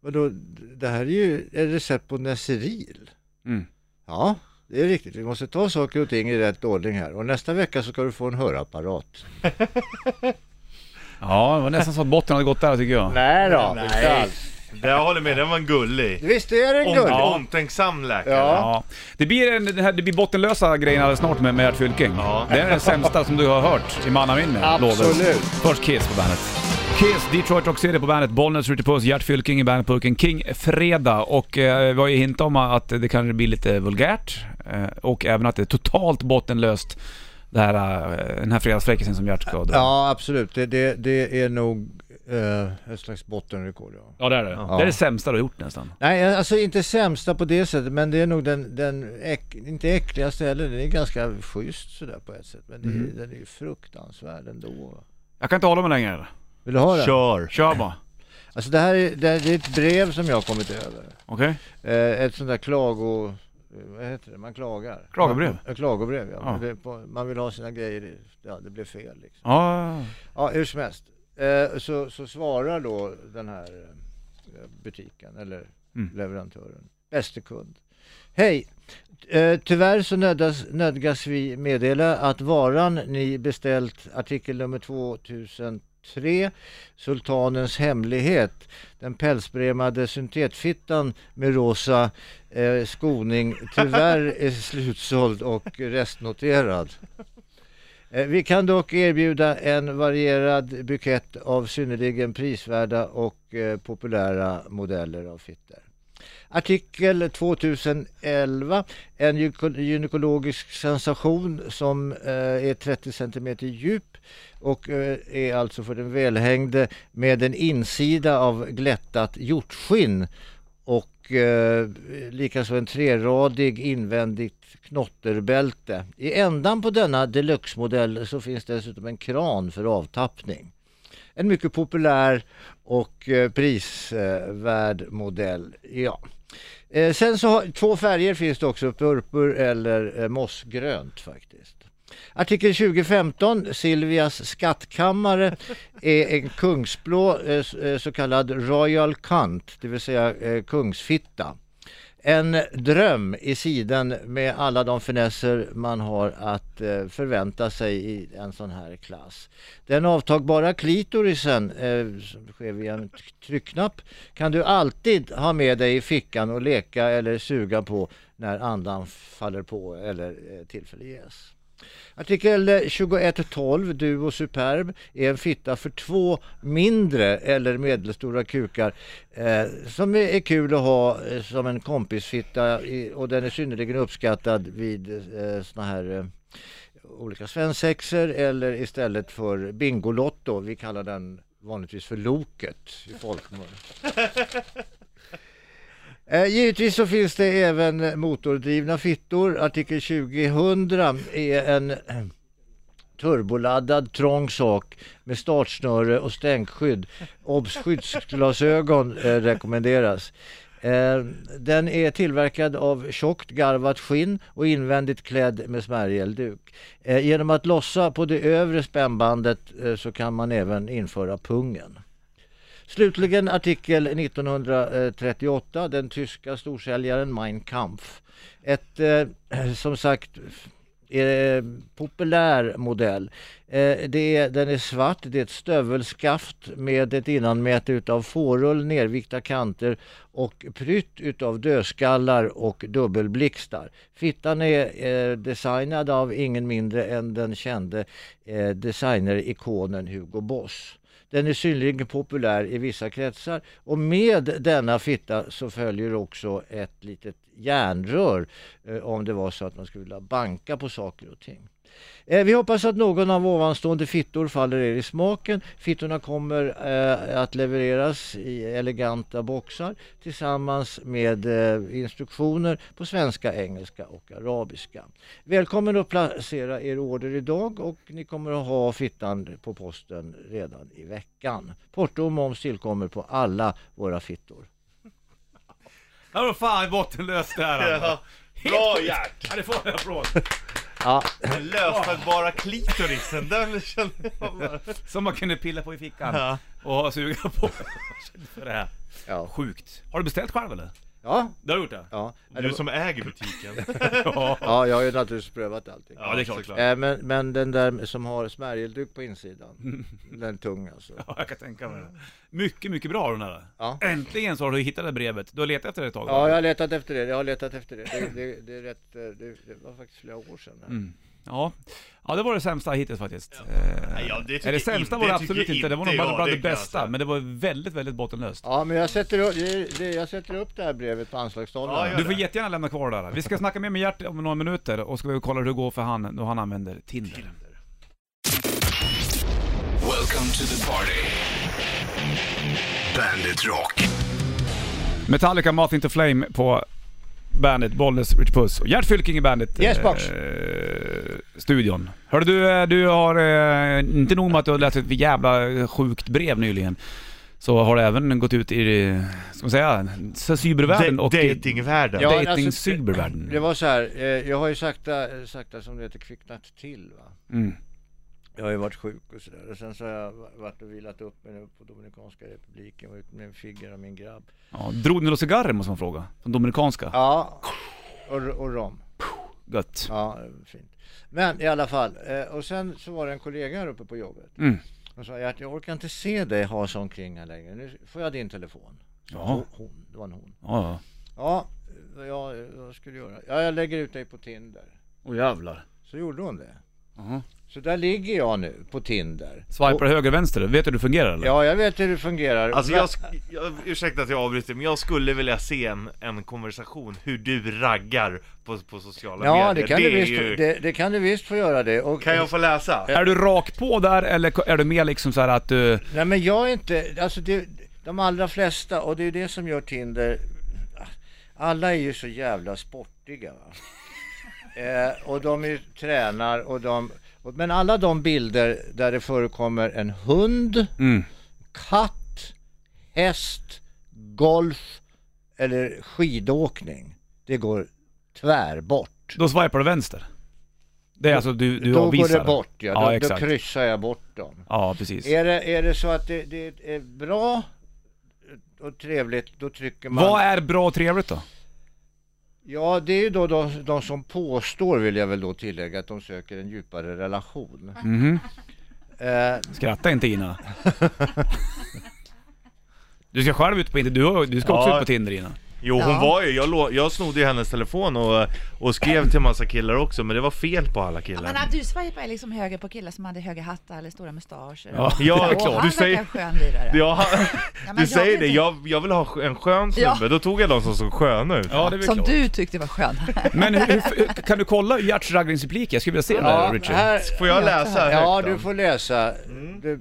[SPEAKER 5] vadå, det här är ju ett recept på Neseril.
[SPEAKER 1] Mm.
[SPEAKER 5] Ja, det är riktigt. Vi måste ta saker och ting i rätt ordning här. Och nästa vecka så ska du få en hörapparat.
[SPEAKER 1] Ja, det var nästan så att botten hade gått där tycker jag.
[SPEAKER 5] Nej då,
[SPEAKER 2] Nej.
[SPEAKER 5] inte alls.
[SPEAKER 2] Det jag håller med, den var en gullig.
[SPEAKER 5] Visst är det en
[SPEAKER 2] Om,
[SPEAKER 5] guld?
[SPEAKER 2] omtänksam läkare.
[SPEAKER 5] Ja.
[SPEAKER 1] Ja. Det blir, en, det här, det blir bottenlösa grejen alldeles snart med, med Gert Fylking.
[SPEAKER 2] Ja.
[SPEAKER 1] Det är den sämsta som du har hört i mannaminne.
[SPEAKER 5] Absolut.
[SPEAKER 1] lovar jag. Först Kiss på bandet. Kiss, Detroit Rock City på bandet, Bollnäs Ritty Puss, Gert Fylking i bandetburken, King Fredag. Och eh, vi har ju hintat om att det kanske blir lite vulgärt eh, och även att det är totalt bottenlöst det här, eh, den här fredagsfräckisen som Gert ska dra.
[SPEAKER 5] Ja, absolut. Det, det, det är nog eh, ett slags bottenrekord. Ja.
[SPEAKER 1] Ja, det är det. Det är det sämsta du har gjort nästan.
[SPEAKER 5] Nej, alltså inte sämsta på det sättet, men det är nog den, den äck, inte äckligaste heller. Den är ganska schysst sådär på ett sätt, men det, är- den är ju fruktansvärd ändå.
[SPEAKER 1] Jag kan inte hålla mig längre.
[SPEAKER 5] Vill du ha den?
[SPEAKER 2] Kör.
[SPEAKER 1] Kör bara.
[SPEAKER 5] Alltså det här är, det, det är ett brev som jag har kommit över.
[SPEAKER 1] Okej?
[SPEAKER 5] Eh, ett sånt där klago... eh, Vad heter det? Man klagar.
[SPEAKER 1] Klagobrev.
[SPEAKER 5] Ja, klagobrev, ja.
[SPEAKER 1] Ja.
[SPEAKER 5] Men Det, är på, man vill ha sina grejer, ja det blev fel liksom.
[SPEAKER 1] Ja,
[SPEAKER 5] Ja, hur som helst. Eh, så, så svarar då den här eh, butiken eller
[SPEAKER 1] Mm.
[SPEAKER 5] leverantören, bäste kund. Hej! Eh, tyvärr så nödgas, nödgas vi meddela att varan ni beställt, artikel nummer 2003, Sultanens hemlighet, den pälsbremade syntetfittan med rosa eh, skoning, tyvärr är slutsåld och restnoterad. Eh, Vi kan dock erbjuda en varierad bukett av synnerligen prisvärda och eh, populära modeller av fittor. Artikel 2011, en gyko- gynekologisk sensation som eh, är 30 cm djup och eh, är alltså för den välhängde med en insida av glättat hjortskinn och eh, likaså en treradig invändigt knotterbälte. I ändan på denna deluxe-modell så finns dessutom en kran för avtappning. En mycket populär och eh, prisvärd modell. Ja. Eh, sen så har, två färger finns det också, purpur eller eh, mossgrönt faktiskt. Artikel 2015, Silvias skattkammare, är en kungsblå eh, s- eh, så kallad Royal Cunt, det vill säga eh, kungsfitta. En dröm i siden med alla de finesser man har att eh, förvänta sig i en sån här klass. Den avtagbara klitorisen, eh, som sker via en t- tryckknapp, kan du alltid ha med dig i fickan och leka eller suga på när andan faller på eller eh, tillfälle ges. Artikel 2112, Duo Superb, är en fitta för två mindre eller medelstora kukar eh, som är, är kul att ha eh, som en kompisfitta i, och den är synnerligen uppskattad vid eh, såna här eh, olika svensexer eller istället för Bingolotto. Vi kallar den vanligtvis för Loket i folkmun. Eh, Givetvis så finns det även motordrivna fittor. Artikel 2000 är en eh, turboladdad trång sak med startsnöre och stänkskydd. Obs skyddsglasögon eh, rekommenderas. Eh, Den är tillverkad av tjockt garvat skinn och invändigt klädd med smärgelduk. Eh, Genom att lossa på det övre spännbandet eh, så kan man även införa pungen. Slutligen artikel 1938, den tyska storsäljaren Mein Kampf. Ett, eh, som sagt, eh, populär modell. Eh, det är, den är svart, det är ett stövelskaft med ett innanmäte utav fårull, nervikta kanter och prytt utav dödskallar och dubbelblixtar. Fittan är eh, designad av ingen mindre än den kände eh, designerikonen Hugo Boss. Den är synnerligen populär i vissa kretsar och med denna fitta så följer också ett litet järnrör eh, om det var så att man skulle vilja banka på saker och ting. Eh, Vi hoppas att någon av ovanstående fittor faller er i smaken. Fittorna kommer eh, att levereras i eleganta boxar tillsammans med eh, instruktioner på svenska, engelska och arabiska. Välkommen att placera er order idag och ni kommer att ha fittan på posten redan i veckan. Porto och moms tillkommer på alla våra fittor.
[SPEAKER 1] Ja, då fan bottenlöst det här alltså.
[SPEAKER 2] Ja. Bra Gert!
[SPEAKER 1] Ja, det får en applåd.
[SPEAKER 5] Ja,
[SPEAKER 2] Den löstagbara klitorisen, den kände jag bara...
[SPEAKER 1] Som man kunde pilla på i fickan
[SPEAKER 2] Ja.
[SPEAKER 1] och suga på. För det här.
[SPEAKER 5] ja.
[SPEAKER 1] Sjukt. Har du beställt själv eller?
[SPEAKER 5] ja,
[SPEAKER 1] Du har gjort det?
[SPEAKER 5] ja.
[SPEAKER 2] Du som äger butiken.
[SPEAKER 5] ja jag har ju naturligtvis prövat allting.
[SPEAKER 1] Ja, det är klart.
[SPEAKER 2] såklart.
[SPEAKER 5] Eh, men, men den där som har smärgelduk på insidan, den tung alltså.
[SPEAKER 1] Mm. Ja, jag kan tänka mig det. Mycket, mycket bra den här.
[SPEAKER 5] Ja.
[SPEAKER 1] Äntligen så har du hittat det brevet. Du har letat efter det ett tag. va?
[SPEAKER 5] Ja, jag har letat efter det. Jag har letat efter det. Det, det, det, är rätt, eh, det, det var faktiskt flera år sedan.
[SPEAKER 1] Mm. Ja. ja, det var det sämsta hittills faktiskt.
[SPEAKER 2] Nej,
[SPEAKER 1] Eh,
[SPEAKER 2] ja, det tycker
[SPEAKER 1] Eller sämsta
[SPEAKER 2] inte-
[SPEAKER 1] var det
[SPEAKER 2] det
[SPEAKER 1] absolut
[SPEAKER 2] tycker
[SPEAKER 1] inte, det var nog
[SPEAKER 2] inte
[SPEAKER 1] bland,
[SPEAKER 2] jag,
[SPEAKER 1] bland
[SPEAKER 2] det
[SPEAKER 1] det,
[SPEAKER 2] kan jag
[SPEAKER 1] bästa,
[SPEAKER 2] säga.
[SPEAKER 1] men det var väldigt, väldigt bottenlöst.
[SPEAKER 5] Ja, men jag sätter, upp, det, det, jag sätter upp det här brevet på anslagstavlan.
[SPEAKER 2] Ja, gör
[SPEAKER 1] Du
[SPEAKER 2] det.
[SPEAKER 1] får jättegärna lämna kvar det här. Vi ska snacka mer med Gert om några minuter och ska vi kolla hur det går för han när han använder Tinder.
[SPEAKER 6] Welcome to the party. Bandit Rock.
[SPEAKER 1] Metallica, Moth Into Flame på Bandit, Bollnäs, Rich Puss och Gert Fylking i Bandit. eh,
[SPEAKER 5] Yes, box.
[SPEAKER 1] studion. Hörde du, eh, du har, eh, inte nog med att du har läst ett jävla sjukt brev nyligen. Så har det även gått ut i, eh, ska man säga, så cybervärlden och i
[SPEAKER 2] Datingvärlden.
[SPEAKER 5] Ja, alltså,
[SPEAKER 1] dating-cybervärlden.
[SPEAKER 5] Det var så här, eh, jag har ju sakta, sakta som det heter kvicknat till. Va?
[SPEAKER 1] Mm.
[SPEAKER 5] Jag har ju varit sjuk och sådär. Och sen så har jag varit och vilat upp mig nu på Dominikanska republiken och ut med en figger av min grabb.
[SPEAKER 1] Ja, drog ni några cigarrer måste man fråga? Från Dominikanska?
[SPEAKER 5] Ja, och, och rom.
[SPEAKER 1] Gött.
[SPEAKER 5] Ja, fint. Men i alla fall, eh, och sen så var det en kollega här uppe på jobbet.
[SPEAKER 1] Mm.
[SPEAKER 5] Och sa att jag orkar inte se dig ha sån kringa längre. Nu får jag din telefon.
[SPEAKER 1] Ja.
[SPEAKER 5] Hon, det var en hon.
[SPEAKER 1] Ja, ja.
[SPEAKER 5] Ja, vad jag, vad skulle jag göra? Ja, jag lägger ut dig på Tinder.
[SPEAKER 1] Åh jävlar.
[SPEAKER 5] Så gjorde hon det.
[SPEAKER 1] Aha.
[SPEAKER 5] Så där ligger jag nu på Tinder.
[SPEAKER 1] Swipar höger, vänster. Vet du hur det fungerar eller?
[SPEAKER 5] Ja, jag vet hur det fungerar.
[SPEAKER 2] Alltså
[SPEAKER 5] Men-
[SPEAKER 2] jag, sk- jag, ursäkta att jag avbryter, men jag skulle vilja se en, en konversation hur du raggar på, på sociala
[SPEAKER 5] Ja,
[SPEAKER 2] medier.
[SPEAKER 5] det kan, du
[SPEAKER 2] är
[SPEAKER 5] visst,
[SPEAKER 2] ju-
[SPEAKER 5] det, det kan du visst få göra det. Och,
[SPEAKER 2] Kan jag få läsa?
[SPEAKER 1] Är du rak på där eller är du mer liksom så här att du...
[SPEAKER 5] Nej, men jag är inte... Alltså det, de allra flesta, och det är ju det som gör Tinder... Alla är ju så jävla sportiga. Va? Eh, och de är, ju- tränar och de... och- Men alla de bilder där det förekommer en hund,
[SPEAKER 1] Mm.
[SPEAKER 5] katt, häst, golf eller skidåkning. Det går tvärbort.
[SPEAKER 1] Då swipar du vänster. Det är alltså du, du
[SPEAKER 5] då
[SPEAKER 1] avvisar.
[SPEAKER 5] går det bort, ja.
[SPEAKER 1] Ja,
[SPEAKER 5] Då, då
[SPEAKER 1] exakt.
[SPEAKER 5] kryssar jag bort dem.
[SPEAKER 1] Ja, precis.
[SPEAKER 5] Är det, är det så att det, det är bra och trevligt, då trycker man...
[SPEAKER 1] Vad är bra och trevligt då?
[SPEAKER 5] Ja, det är ju då de, de som påstår, vill jag väl då tillägga, att de söker en djupare relation.
[SPEAKER 1] Mhm.
[SPEAKER 5] Eh,
[SPEAKER 1] Skratta inte Ina. Du ska själv ut på Tinder, du, har- du ska också
[SPEAKER 2] Ja.
[SPEAKER 1] ut på Tinder Ina.
[SPEAKER 2] Jo hon
[SPEAKER 5] Ja.
[SPEAKER 2] var ju, jag, lå- jag snodde ju hennes telefon och, och skrev till massa killar också men det var fel på alla
[SPEAKER 7] Ja,
[SPEAKER 2] killar.
[SPEAKER 7] men att du swipar liksom höger på killar som hade höga hattar eller stora mustascher.
[SPEAKER 1] Ja,
[SPEAKER 2] Ja,
[SPEAKER 1] det är
[SPEAKER 2] klart.
[SPEAKER 7] och han
[SPEAKER 2] Du
[SPEAKER 7] verkar
[SPEAKER 2] säger-
[SPEAKER 7] en skön lirare.
[SPEAKER 2] Ja, han-
[SPEAKER 7] Ja, men
[SPEAKER 2] du
[SPEAKER 7] jag
[SPEAKER 2] säger
[SPEAKER 7] vet
[SPEAKER 2] det,
[SPEAKER 7] inte.
[SPEAKER 2] jag, jag vill ha sk- en skön snubbe,
[SPEAKER 7] Ja.
[SPEAKER 2] då tog jag de som såg sköna ut.
[SPEAKER 1] Ja, det är väl
[SPEAKER 7] Som
[SPEAKER 1] klart.
[SPEAKER 7] du tyckte var skön.
[SPEAKER 1] Men hur, hur, hur, kan du kolla Gerts raggningsreplik? Jag skulle vilja se den där
[SPEAKER 5] ja,
[SPEAKER 1] Richard.
[SPEAKER 5] här,
[SPEAKER 2] Får jag läsa
[SPEAKER 5] ja,
[SPEAKER 2] högt då? Mm.
[SPEAKER 5] du får läsa. Det,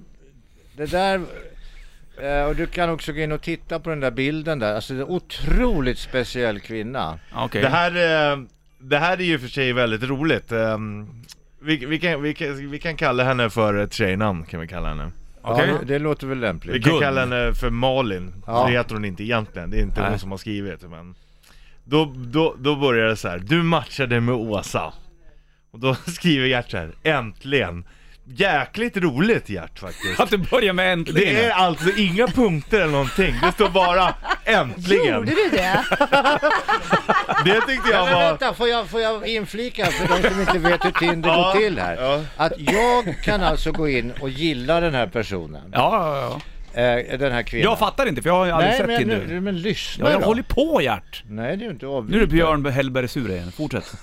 [SPEAKER 5] det där... eh, Och du kan också gå in och titta på den där bilden där. Alltså, det är en otroligt speciell kvinna.
[SPEAKER 1] Ja, Okej.
[SPEAKER 2] Det här, eh, det här är ju för sig väldigt Ehm, roligt. Eh, Vi, vi, kan, vi, kan, vi kan kalla henne för ett tjejnamn, kan vi kalla henne.
[SPEAKER 1] Okej.
[SPEAKER 5] Ja, det, det låter väl lämpligt.
[SPEAKER 2] Vi kan
[SPEAKER 1] Gun.
[SPEAKER 2] kalla henne för Malin,
[SPEAKER 5] Ja.
[SPEAKER 2] det heter hon inte egentligen, det är inte
[SPEAKER 1] Nej.
[SPEAKER 2] hon som har skrivit men då, då, då börjar det så här. du matchade med Åsa Och då skriver Gert så här, äntligen! Jäkligt roligt Gert faktiskt
[SPEAKER 1] Att du börjar med äntligen!
[SPEAKER 2] Det är alltså inga punkter eller någonting, det står bara äntligen!
[SPEAKER 7] Gjorde du det?
[SPEAKER 2] Det tyckte jag
[SPEAKER 5] Men
[SPEAKER 2] var...
[SPEAKER 5] vänta, får jag, får jag inflika för de som inte vet hur Tinder
[SPEAKER 2] Ja,
[SPEAKER 5] går till här?
[SPEAKER 2] ja.
[SPEAKER 5] Att jag kan alltså gå in och gilla den här personen,
[SPEAKER 1] Ja, ja, ja.
[SPEAKER 5] eh, den här kvinnan.
[SPEAKER 1] Jag fattar inte för jag har ju aldrig
[SPEAKER 5] Nej,
[SPEAKER 1] sett
[SPEAKER 5] men,
[SPEAKER 1] Tinder.
[SPEAKER 5] nu, men lyssna
[SPEAKER 1] ja, jag
[SPEAKER 5] då.
[SPEAKER 1] håller på Gert!
[SPEAKER 5] Nej, det är ju inte
[SPEAKER 1] Nu är det
[SPEAKER 5] avbrytande.
[SPEAKER 1] Björn Hellberg sur igen, fortsätt.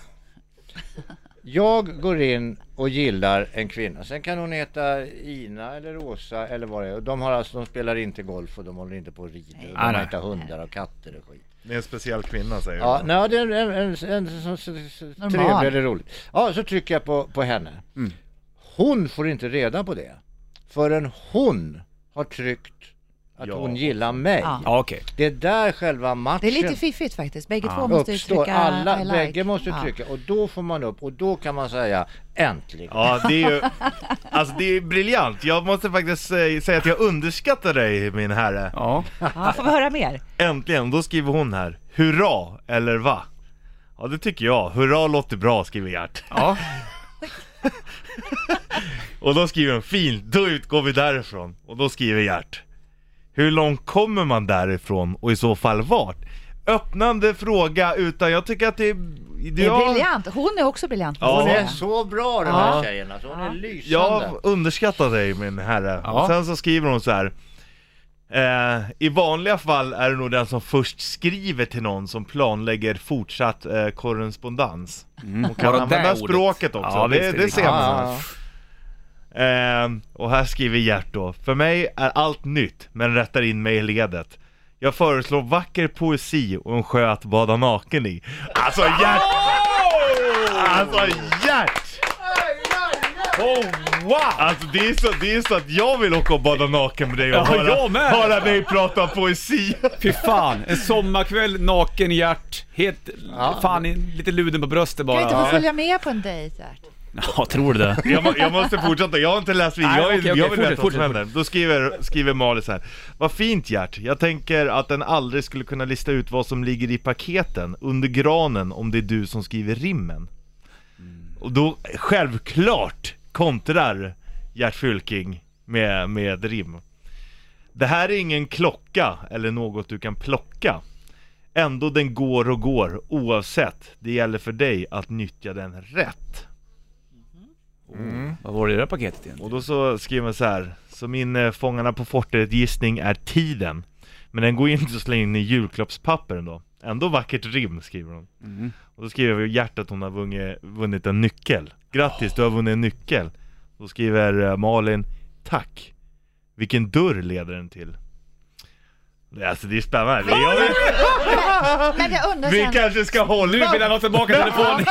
[SPEAKER 5] Jag går in och gillar en kvinna. Sen kan hon heta Ina eller Åsa eller vad det är. Och De, har alltså, de spelar inte golf och de håller inte på och rider. Och de
[SPEAKER 1] Nej, nej.
[SPEAKER 5] har inte hundar och katter och skit.
[SPEAKER 2] Det är en speciell kvinna säger
[SPEAKER 5] Ja,
[SPEAKER 2] hon.
[SPEAKER 5] nej, det är en, en, en, en, en, så- så- så-
[SPEAKER 7] Normal.
[SPEAKER 5] trevlig eller rolig. Ja, så trycker jag på, på henne.
[SPEAKER 2] Mm.
[SPEAKER 5] Hon får inte reda på det förrän hon har tryckt att
[SPEAKER 2] Ja.
[SPEAKER 5] hon gillar mig.
[SPEAKER 7] Ja.
[SPEAKER 1] Ja, okej.
[SPEAKER 5] Det är där själva matchen
[SPEAKER 7] Det är lite fiffigt faktiskt. Bägge två måste ju
[SPEAKER 5] uppstår.
[SPEAKER 7] trycka
[SPEAKER 5] Alla,
[SPEAKER 7] I like.
[SPEAKER 5] bägge måste
[SPEAKER 7] Ja.
[SPEAKER 5] trycka och då får man upp och då kan man säga äntligen.
[SPEAKER 2] Ja, det är ju... Alltså det är briljant. Jag måste faktiskt eh, säga att jag underskattar dig min herre.
[SPEAKER 1] Ja.
[SPEAKER 7] Ja, får vi höra mer?
[SPEAKER 2] Äntligen, då skriver hon här Hurra, eller va? Ja det tycker jag, hurra låter bra skriver Gert
[SPEAKER 1] ja.
[SPEAKER 2] Och då skriver hon fint, då utgår vi därifrån Och då skriver Gert Hur långt kommer man därifrån och i så fall vart? Öppnande fråga utan jag tycker att det är...
[SPEAKER 7] Det är
[SPEAKER 2] jag-
[SPEAKER 7] briljant. Hon är också briljant.
[SPEAKER 2] Ja.
[SPEAKER 5] Hon
[SPEAKER 7] måste jag
[SPEAKER 5] är
[SPEAKER 7] säga.
[SPEAKER 5] så bra den här tjejen alltså. Hon är lysande.
[SPEAKER 2] Jag underskattar dig min herre.
[SPEAKER 1] Ja.
[SPEAKER 2] Och sen så skriver hon så här. Eh, I vanliga fall är det nog den som först skriver till någon som planlägger fortsatt eh, korrespondens. Hon Mm, kan
[SPEAKER 1] Mm. Bara det
[SPEAKER 2] använda
[SPEAKER 1] ordet.
[SPEAKER 2] språket också,
[SPEAKER 1] Ja,
[SPEAKER 2] det,
[SPEAKER 1] visst,
[SPEAKER 2] det
[SPEAKER 1] visst.
[SPEAKER 2] ser man.
[SPEAKER 5] Ja,
[SPEAKER 2] Ehm, och här skriver Gert då, för mig är allt nytt, men rättar in mig i ledet. Jag föreslår vacker poesi och en sjö att bada naken i. Alltså Gert! Alltså Gert! Oh, wow! Alltså det är, så, det är så att jag vill åka och bada naken med dig och
[SPEAKER 1] Ja, jag
[SPEAKER 2] höra,
[SPEAKER 1] med.
[SPEAKER 2] höra dig prata om poesi.
[SPEAKER 1] Fy fan, en sommarkväll, naken Gert, helt,
[SPEAKER 5] Ja.
[SPEAKER 1] fan i- lite luden på bröstet
[SPEAKER 7] Kan vi
[SPEAKER 1] bara.
[SPEAKER 7] inte få följa med på en dejt? Gert?
[SPEAKER 1] Ja, tror du det?
[SPEAKER 2] Jag, må, jag måste fortsätta, jag har inte läst vidare,
[SPEAKER 1] Nej,
[SPEAKER 2] jag, är-
[SPEAKER 1] okej, okej,
[SPEAKER 2] jag vill
[SPEAKER 1] fortsätt,
[SPEAKER 2] veta vad
[SPEAKER 1] fortsätt,
[SPEAKER 2] som händer. Då skriver, skriver Malin så här. Vad fint Gert, jag tänker att den aldrig skulle kunna lista ut vad som ligger i paketen under granen om det är du som skriver rimmen. Och då, självklart, kontrar Gert Fylking med, med ett rim. Det här är ingen klocka eller något du kan plocka. Ändå den går och går oavsett. Det gäller för dig att nyttja den rätt.
[SPEAKER 1] Vad var det i det där paketet igen?
[SPEAKER 2] Och då så skriver man så här, så min eh, Fångarna på fortet gissning är tiden. Men den går ju inte att slänga in i julklappspapperen då. Ändå vackert rim skriver hon. Och då skriver Gert att hon har vunnit, vunnit en nyckel. Grattis, du har vunnit en nyckel. Då skriver eh, Malin, tack. Vilken dörr leder den till? Det- Alltså det är spännande. Jag vet,
[SPEAKER 7] Men jag undrar
[SPEAKER 2] vi
[SPEAKER 7] sen,
[SPEAKER 2] kanske ska hålla...
[SPEAKER 1] Nu vill han ha tillbaka telefonen!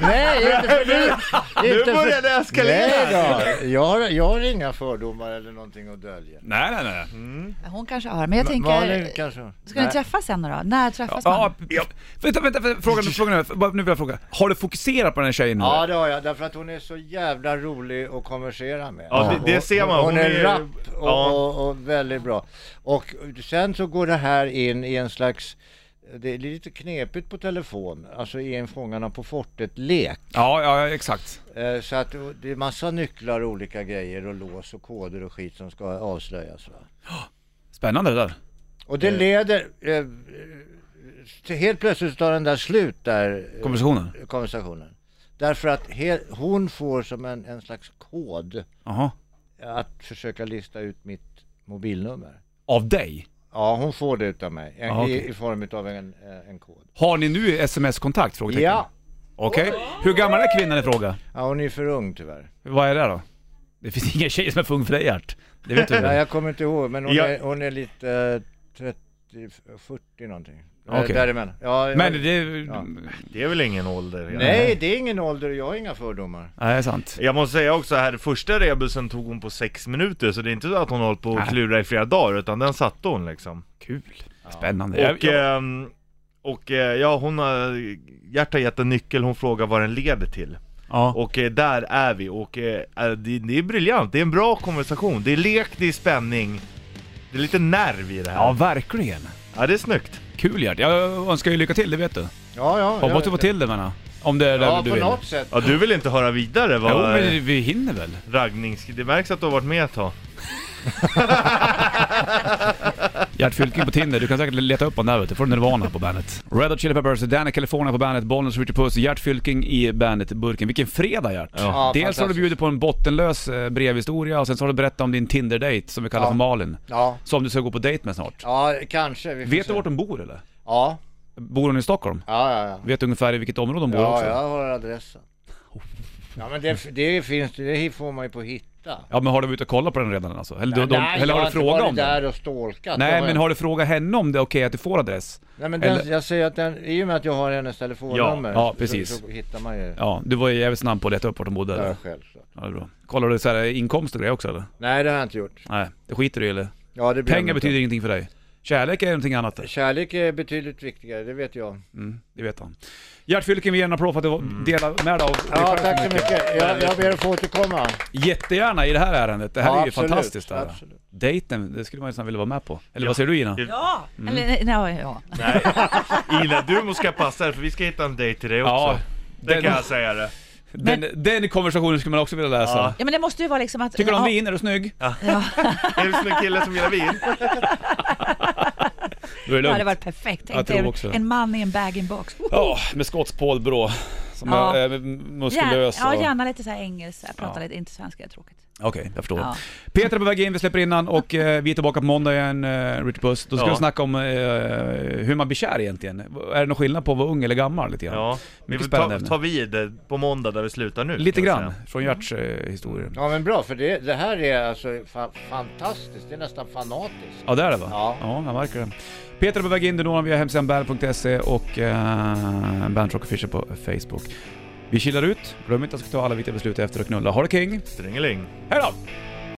[SPEAKER 5] Nej, inte för det.
[SPEAKER 2] Nu
[SPEAKER 5] inte för-
[SPEAKER 2] börjar det eskalera!
[SPEAKER 5] Nej då, jag har, jag har inga fördomar eller någonting att dölja.
[SPEAKER 1] nej, nej, nej.
[SPEAKER 7] hon kanske har, men jag
[SPEAKER 5] Malin
[SPEAKER 7] tänker...
[SPEAKER 5] kanske?
[SPEAKER 7] Ska ni träffas sen då? När träffas
[SPEAKER 1] Ja,
[SPEAKER 7] man?
[SPEAKER 1] ja. Vänta, vänta, vänta, frågan, frågan är, bara- nu vill jag fråga. Har du fokuserat på den här tjejen nu?
[SPEAKER 5] Ja det har jag, därför att hon är så jävla rolig att konversera med.
[SPEAKER 2] Ja, det- det
[SPEAKER 5] Och-
[SPEAKER 2] ser man.
[SPEAKER 5] Hon,
[SPEAKER 2] Hon
[SPEAKER 5] är,
[SPEAKER 2] är-
[SPEAKER 5] rapp och,
[SPEAKER 2] ja.
[SPEAKER 5] och, och väldigt bra. Och sen så går det här in i en slags, det är lite knepigt på telefon, alltså i en Fångarna på fortet-lek.
[SPEAKER 1] ja, ja exakt.
[SPEAKER 5] Eh, Så att det är massa nycklar och olika grejer och lås och koder och skit som ska avslöjas. Va?
[SPEAKER 1] Spännande det där.
[SPEAKER 5] Och det leder... Eh, till helt plötsligt tar den där slut där, eh,
[SPEAKER 1] Konversationen?
[SPEAKER 5] konversationen. Därför att he- hon får som en, en slags kod
[SPEAKER 1] Jaha.
[SPEAKER 5] att försöka lista ut mitt mobilnummer.
[SPEAKER 1] Av dig?
[SPEAKER 5] Ja, hon får det utav mig en,
[SPEAKER 1] Ja, okej.
[SPEAKER 5] i, i form utav en, eh, en kod.
[SPEAKER 1] Har ni nu sms-kontakt? Frågetecken.
[SPEAKER 5] Ja.
[SPEAKER 1] Okej. Hur gammal är kvinnan i fråga?
[SPEAKER 5] ja, hon är för ung tyvärr.
[SPEAKER 1] Vad är det då? Det finns inga tjejer som är för ung för dig Gert. Det vet du
[SPEAKER 5] Nej,
[SPEAKER 1] väl?
[SPEAKER 5] jag kommer inte ihåg, men hon,
[SPEAKER 2] Ja.
[SPEAKER 5] är, hon är lite eh, 30, 40 någonting. Eh,
[SPEAKER 1] Okej.
[SPEAKER 5] Däremellan. Ja, jag-
[SPEAKER 1] Men det...
[SPEAKER 5] Ja.
[SPEAKER 2] Det är väl ingen ålder? egentligen.
[SPEAKER 5] Nej, det är ingen ålder och jag har inga fördomar.
[SPEAKER 1] Nej, det är sant.
[SPEAKER 2] Jag måste säga också här, första rebusen tog hon på sex minuter så det är inte så att hon har hållit på och klura i flera dagar utan den satte hon liksom.
[SPEAKER 1] Kul. Spännande.
[SPEAKER 2] Och, ehm, och eh, ja hon har, Gert har gett en nyckel, hon frågar vad den leder till.
[SPEAKER 1] Ja.
[SPEAKER 2] Och eh, där är vi och eh, eh, det, det är briljant, det är en bra konversation, det är lek, det är spänning, det är lite nerv i det här.
[SPEAKER 1] ja,
[SPEAKER 2] Ja,
[SPEAKER 1] verkligen.
[SPEAKER 2] det är snyggt.
[SPEAKER 1] Kul Gert. Jag önskar ju lycka till, det vet du.
[SPEAKER 5] Ja, ja.
[SPEAKER 1] Hoppas
[SPEAKER 5] ja,
[SPEAKER 1] du får till det menar Om det är det
[SPEAKER 5] Ja,
[SPEAKER 1] du
[SPEAKER 5] på
[SPEAKER 1] vill.
[SPEAKER 5] något sätt.
[SPEAKER 2] Ja, du vill inte höra vidare vad
[SPEAKER 1] Jo,
[SPEAKER 2] jo,
[SPEAKER 1] men vi hinner väl?
[SPEAKER 2] det märks att du har varit med ett tag.
[SPEAKER 1] Gert Fylking på Tinder, du kan säkert leta upp honom där vet du. får du Nirvana på bandet. Red Hot Chili Peppers, Danny California på bandet, Bollnäs Richard Puss, Gert Fylking i bandet-burken. Vilken fredag Gert!
[SPEAKER 5] Ja,
[SPEAKER 1] Dels har du
[SPEAKER 5] fantastiskt.
[SPEAKER 1] bjudit på en bottenlös eh, brevhistoria och sen så har du berättat om din Tinder-date som vi kallar
[SPEAKER 5] Ja.
[SPEAKER 1] för Malin.
[SPEAKER 5] Ja,
[SPEAKER 1] Som du ska gå på dejt med snart.
[SPEAKER 5] ja kanske. Vi får
[SPEAKER 1] Vet
[SPEAKER 5] se.
[SPEAKER 1] du vart hon bor eller?
[SPEAKER 5] Ja,
[SPEAKER 1] Bor hon i Stockholm?
[SPEAKER 5] ja, ja. ja.
[SPEAKER 1] Vet du ungefär i vilket område hon bor
[SPEAKER 5] Ja,
[SPEAKER 1] också?
[SPEAKER 5] jag har adressen. Ja, men det, det finns det får man ju på hitta.
[SPEAKER 1] Ja men har du varit ute och kollat på den redan alltså? Eller, du- de, eller
[SPEAKER 5] jag
[SPEAKER 1] har du
[SPEAKER 5] inte
[SPEAKER 1] frågat
[SPEAKER 5] varit
[SPEAKER 1] om den?
[SPEAKER 5] där och stalkat. Det
[SPEAKER 1] Nej
[SPEAKER 5] jag
[SPEAKER 1] men har du frågat henne om det är okej att du får adress?
[SPEAKER 5] Nej men den,
[SPEAKER 1] Eller-
[SPEAKER 5] jag säger att den, i och med att jag har hennes telefonnummer
[SPEAKER 1] Ja, ja,
[SPEAKER 5] så-
[SPEAKER 1] precis.
[SPEAKER 5] så, hittar man ju
[SPEAKER 1] Ja, du var ju jävligt snabb på att leta upp vart hon bodde.
[SPEAKER 5] där
[SPEAKER 1] eller?
[SPEAKER 5] självklart.
[SPEAKER 1] Ja, det är bra. Kollar du så här inkomst och grejer också eller?
[SPEAKER 5] Nej det har jag inte gjort.
[SPEAKER 1] Nej, det skiter du i eller?
[SPEAKER 5] Ja, det blir
[SPEAKER 1] Pengar
[SPEAKER 5] jag inte.
[SPEAKER 1] betyder ingenting för dig. Kärlek är någonting annat. där.
[SPEAKER 5] Kärlek är betydligt viktigare, det vet jag.
[SPEAKER 1] Mm, det vet han. Gert Fylking, vi ger en applåd för att du var- delade med dig av dig
[SPEAKER 5] Ja,
[SPEAKER 1] själv
[SPEAKER 5] tack så mycket. Jag, jag ber att få återkomma.
[SPEAKER 1] Jättegärna i det här ärendet. Det här
[SPEAKER 5] Ja,
[SPEAKER 1] är ju
[SPEAKER 5] absolut,
[SPEAKER 1] fantastiskt. Det här.
[SPEAKER 5] absolut.
[SPEAKER 1] Dejten, det skulle man ju nästan vilja vara med på. Eller vad säger du Gina?
[SPEAKER 4] Ja!
[SPEAKER 7] Eller, nej, nej, ja.
[SPEAKER 2] Nej, Ina, du måste jag passa dig för vi ska hitta en dejt till dig också.
[SPEAKER 1] Ja,
[SPEAKER 2] det
[SPEAKER 1] den-
[SPEAKER 2] kan jag säga det.
[SPEAKER 1] Den, den konversationen skulle man också vilja läsa.
[SPEAKER 2] Ja.
[SPEAKER 7] ja men det måste ju vara liksom att...
[SPEAKER 1] Tycker du om
[SPEAKER 7] ja,
[SPEAKER 1] vin? Är du snygg?
[SPEAKER 2] Är du som en kille som gillar vin?
[SPEAKER 1] Då är
[SPEAKER 7] Det
[SPEAKER 1] det
[SPEAKER 7] hade
[SPEAKER 1] lugnt.
[SPEAKER 7] varit perfekt.
[SPEAKER 1] Jag
[SPEAKER 7] Tänk
[SPEAKER 1] tror
[SPEAKER 7] dig
[SPEAKER 1] också.
[SPEAKER 7] en, en man i en bag-in-box.
[SPEAKER 1] Ja, med skottspålbrå. Som
[SPEAKER 7] Ja.
[SPEAKER 1] är eh, muskulös
[SPEAKER 7] ja,
[SPEAKER 1] och...
[SPEAKER 7] gärna lite så här engelska. Prata
[SPEAKER 1] Ja.
[SPEAKER 7] lite, inte svenska, det är tråkigt.
[SPEAKER 1] Okej, jag förstår.
[SPEAKER 7] Ja.
[SPEAKER 1] Peter är på väg in, vi släpper in han och eh, vi är tillbaka på måndag igen, eh, Rich Puss. Då ska
[SPEAKER 2] Ja.
[SPEAKER 1] vi snacka om eh, hur man blir kär egentligen. Är det någon skillnad på att vara ung eller gammal lite grann?
[SPEAKER 2] Ja, vi
[SPEAKER 1] Mycket
[SPEAKER 2] får
[SPEAKER 1] spännande
[SPEAKER 2] ta,
[SPEAKER 1] ämne.
[SPEAKER 2] ta vid eh, på måndag där vi slutar nu.
[SPEAKER 1] Lite
[SPEAKER 2] kan jag
[SPEAKER 1] grann,
[SPEAKER 2] säga.
[SPEAKER 1] från Gerts eh, historier.
[SPEAKER 5] Ja men bra, för det, det här är alltså fa- fantastiskt. Det är nästan fanatiskt.
[SPEAKER 1] Ja, det är det va?
[SPEAKER 5] Ja.
[SPEAKER 1] ja jag märker det. Peter är på väg in, du når honom via hemsidan bandit.se och eh, Bandrock Official på Facebook. Vi kilar ut, glöm inte att ta alla viktiga beslut efter att knulla. Ha det king!
[SPEAKER 2] Stringeling.
[SPEAKER 1] Hej då!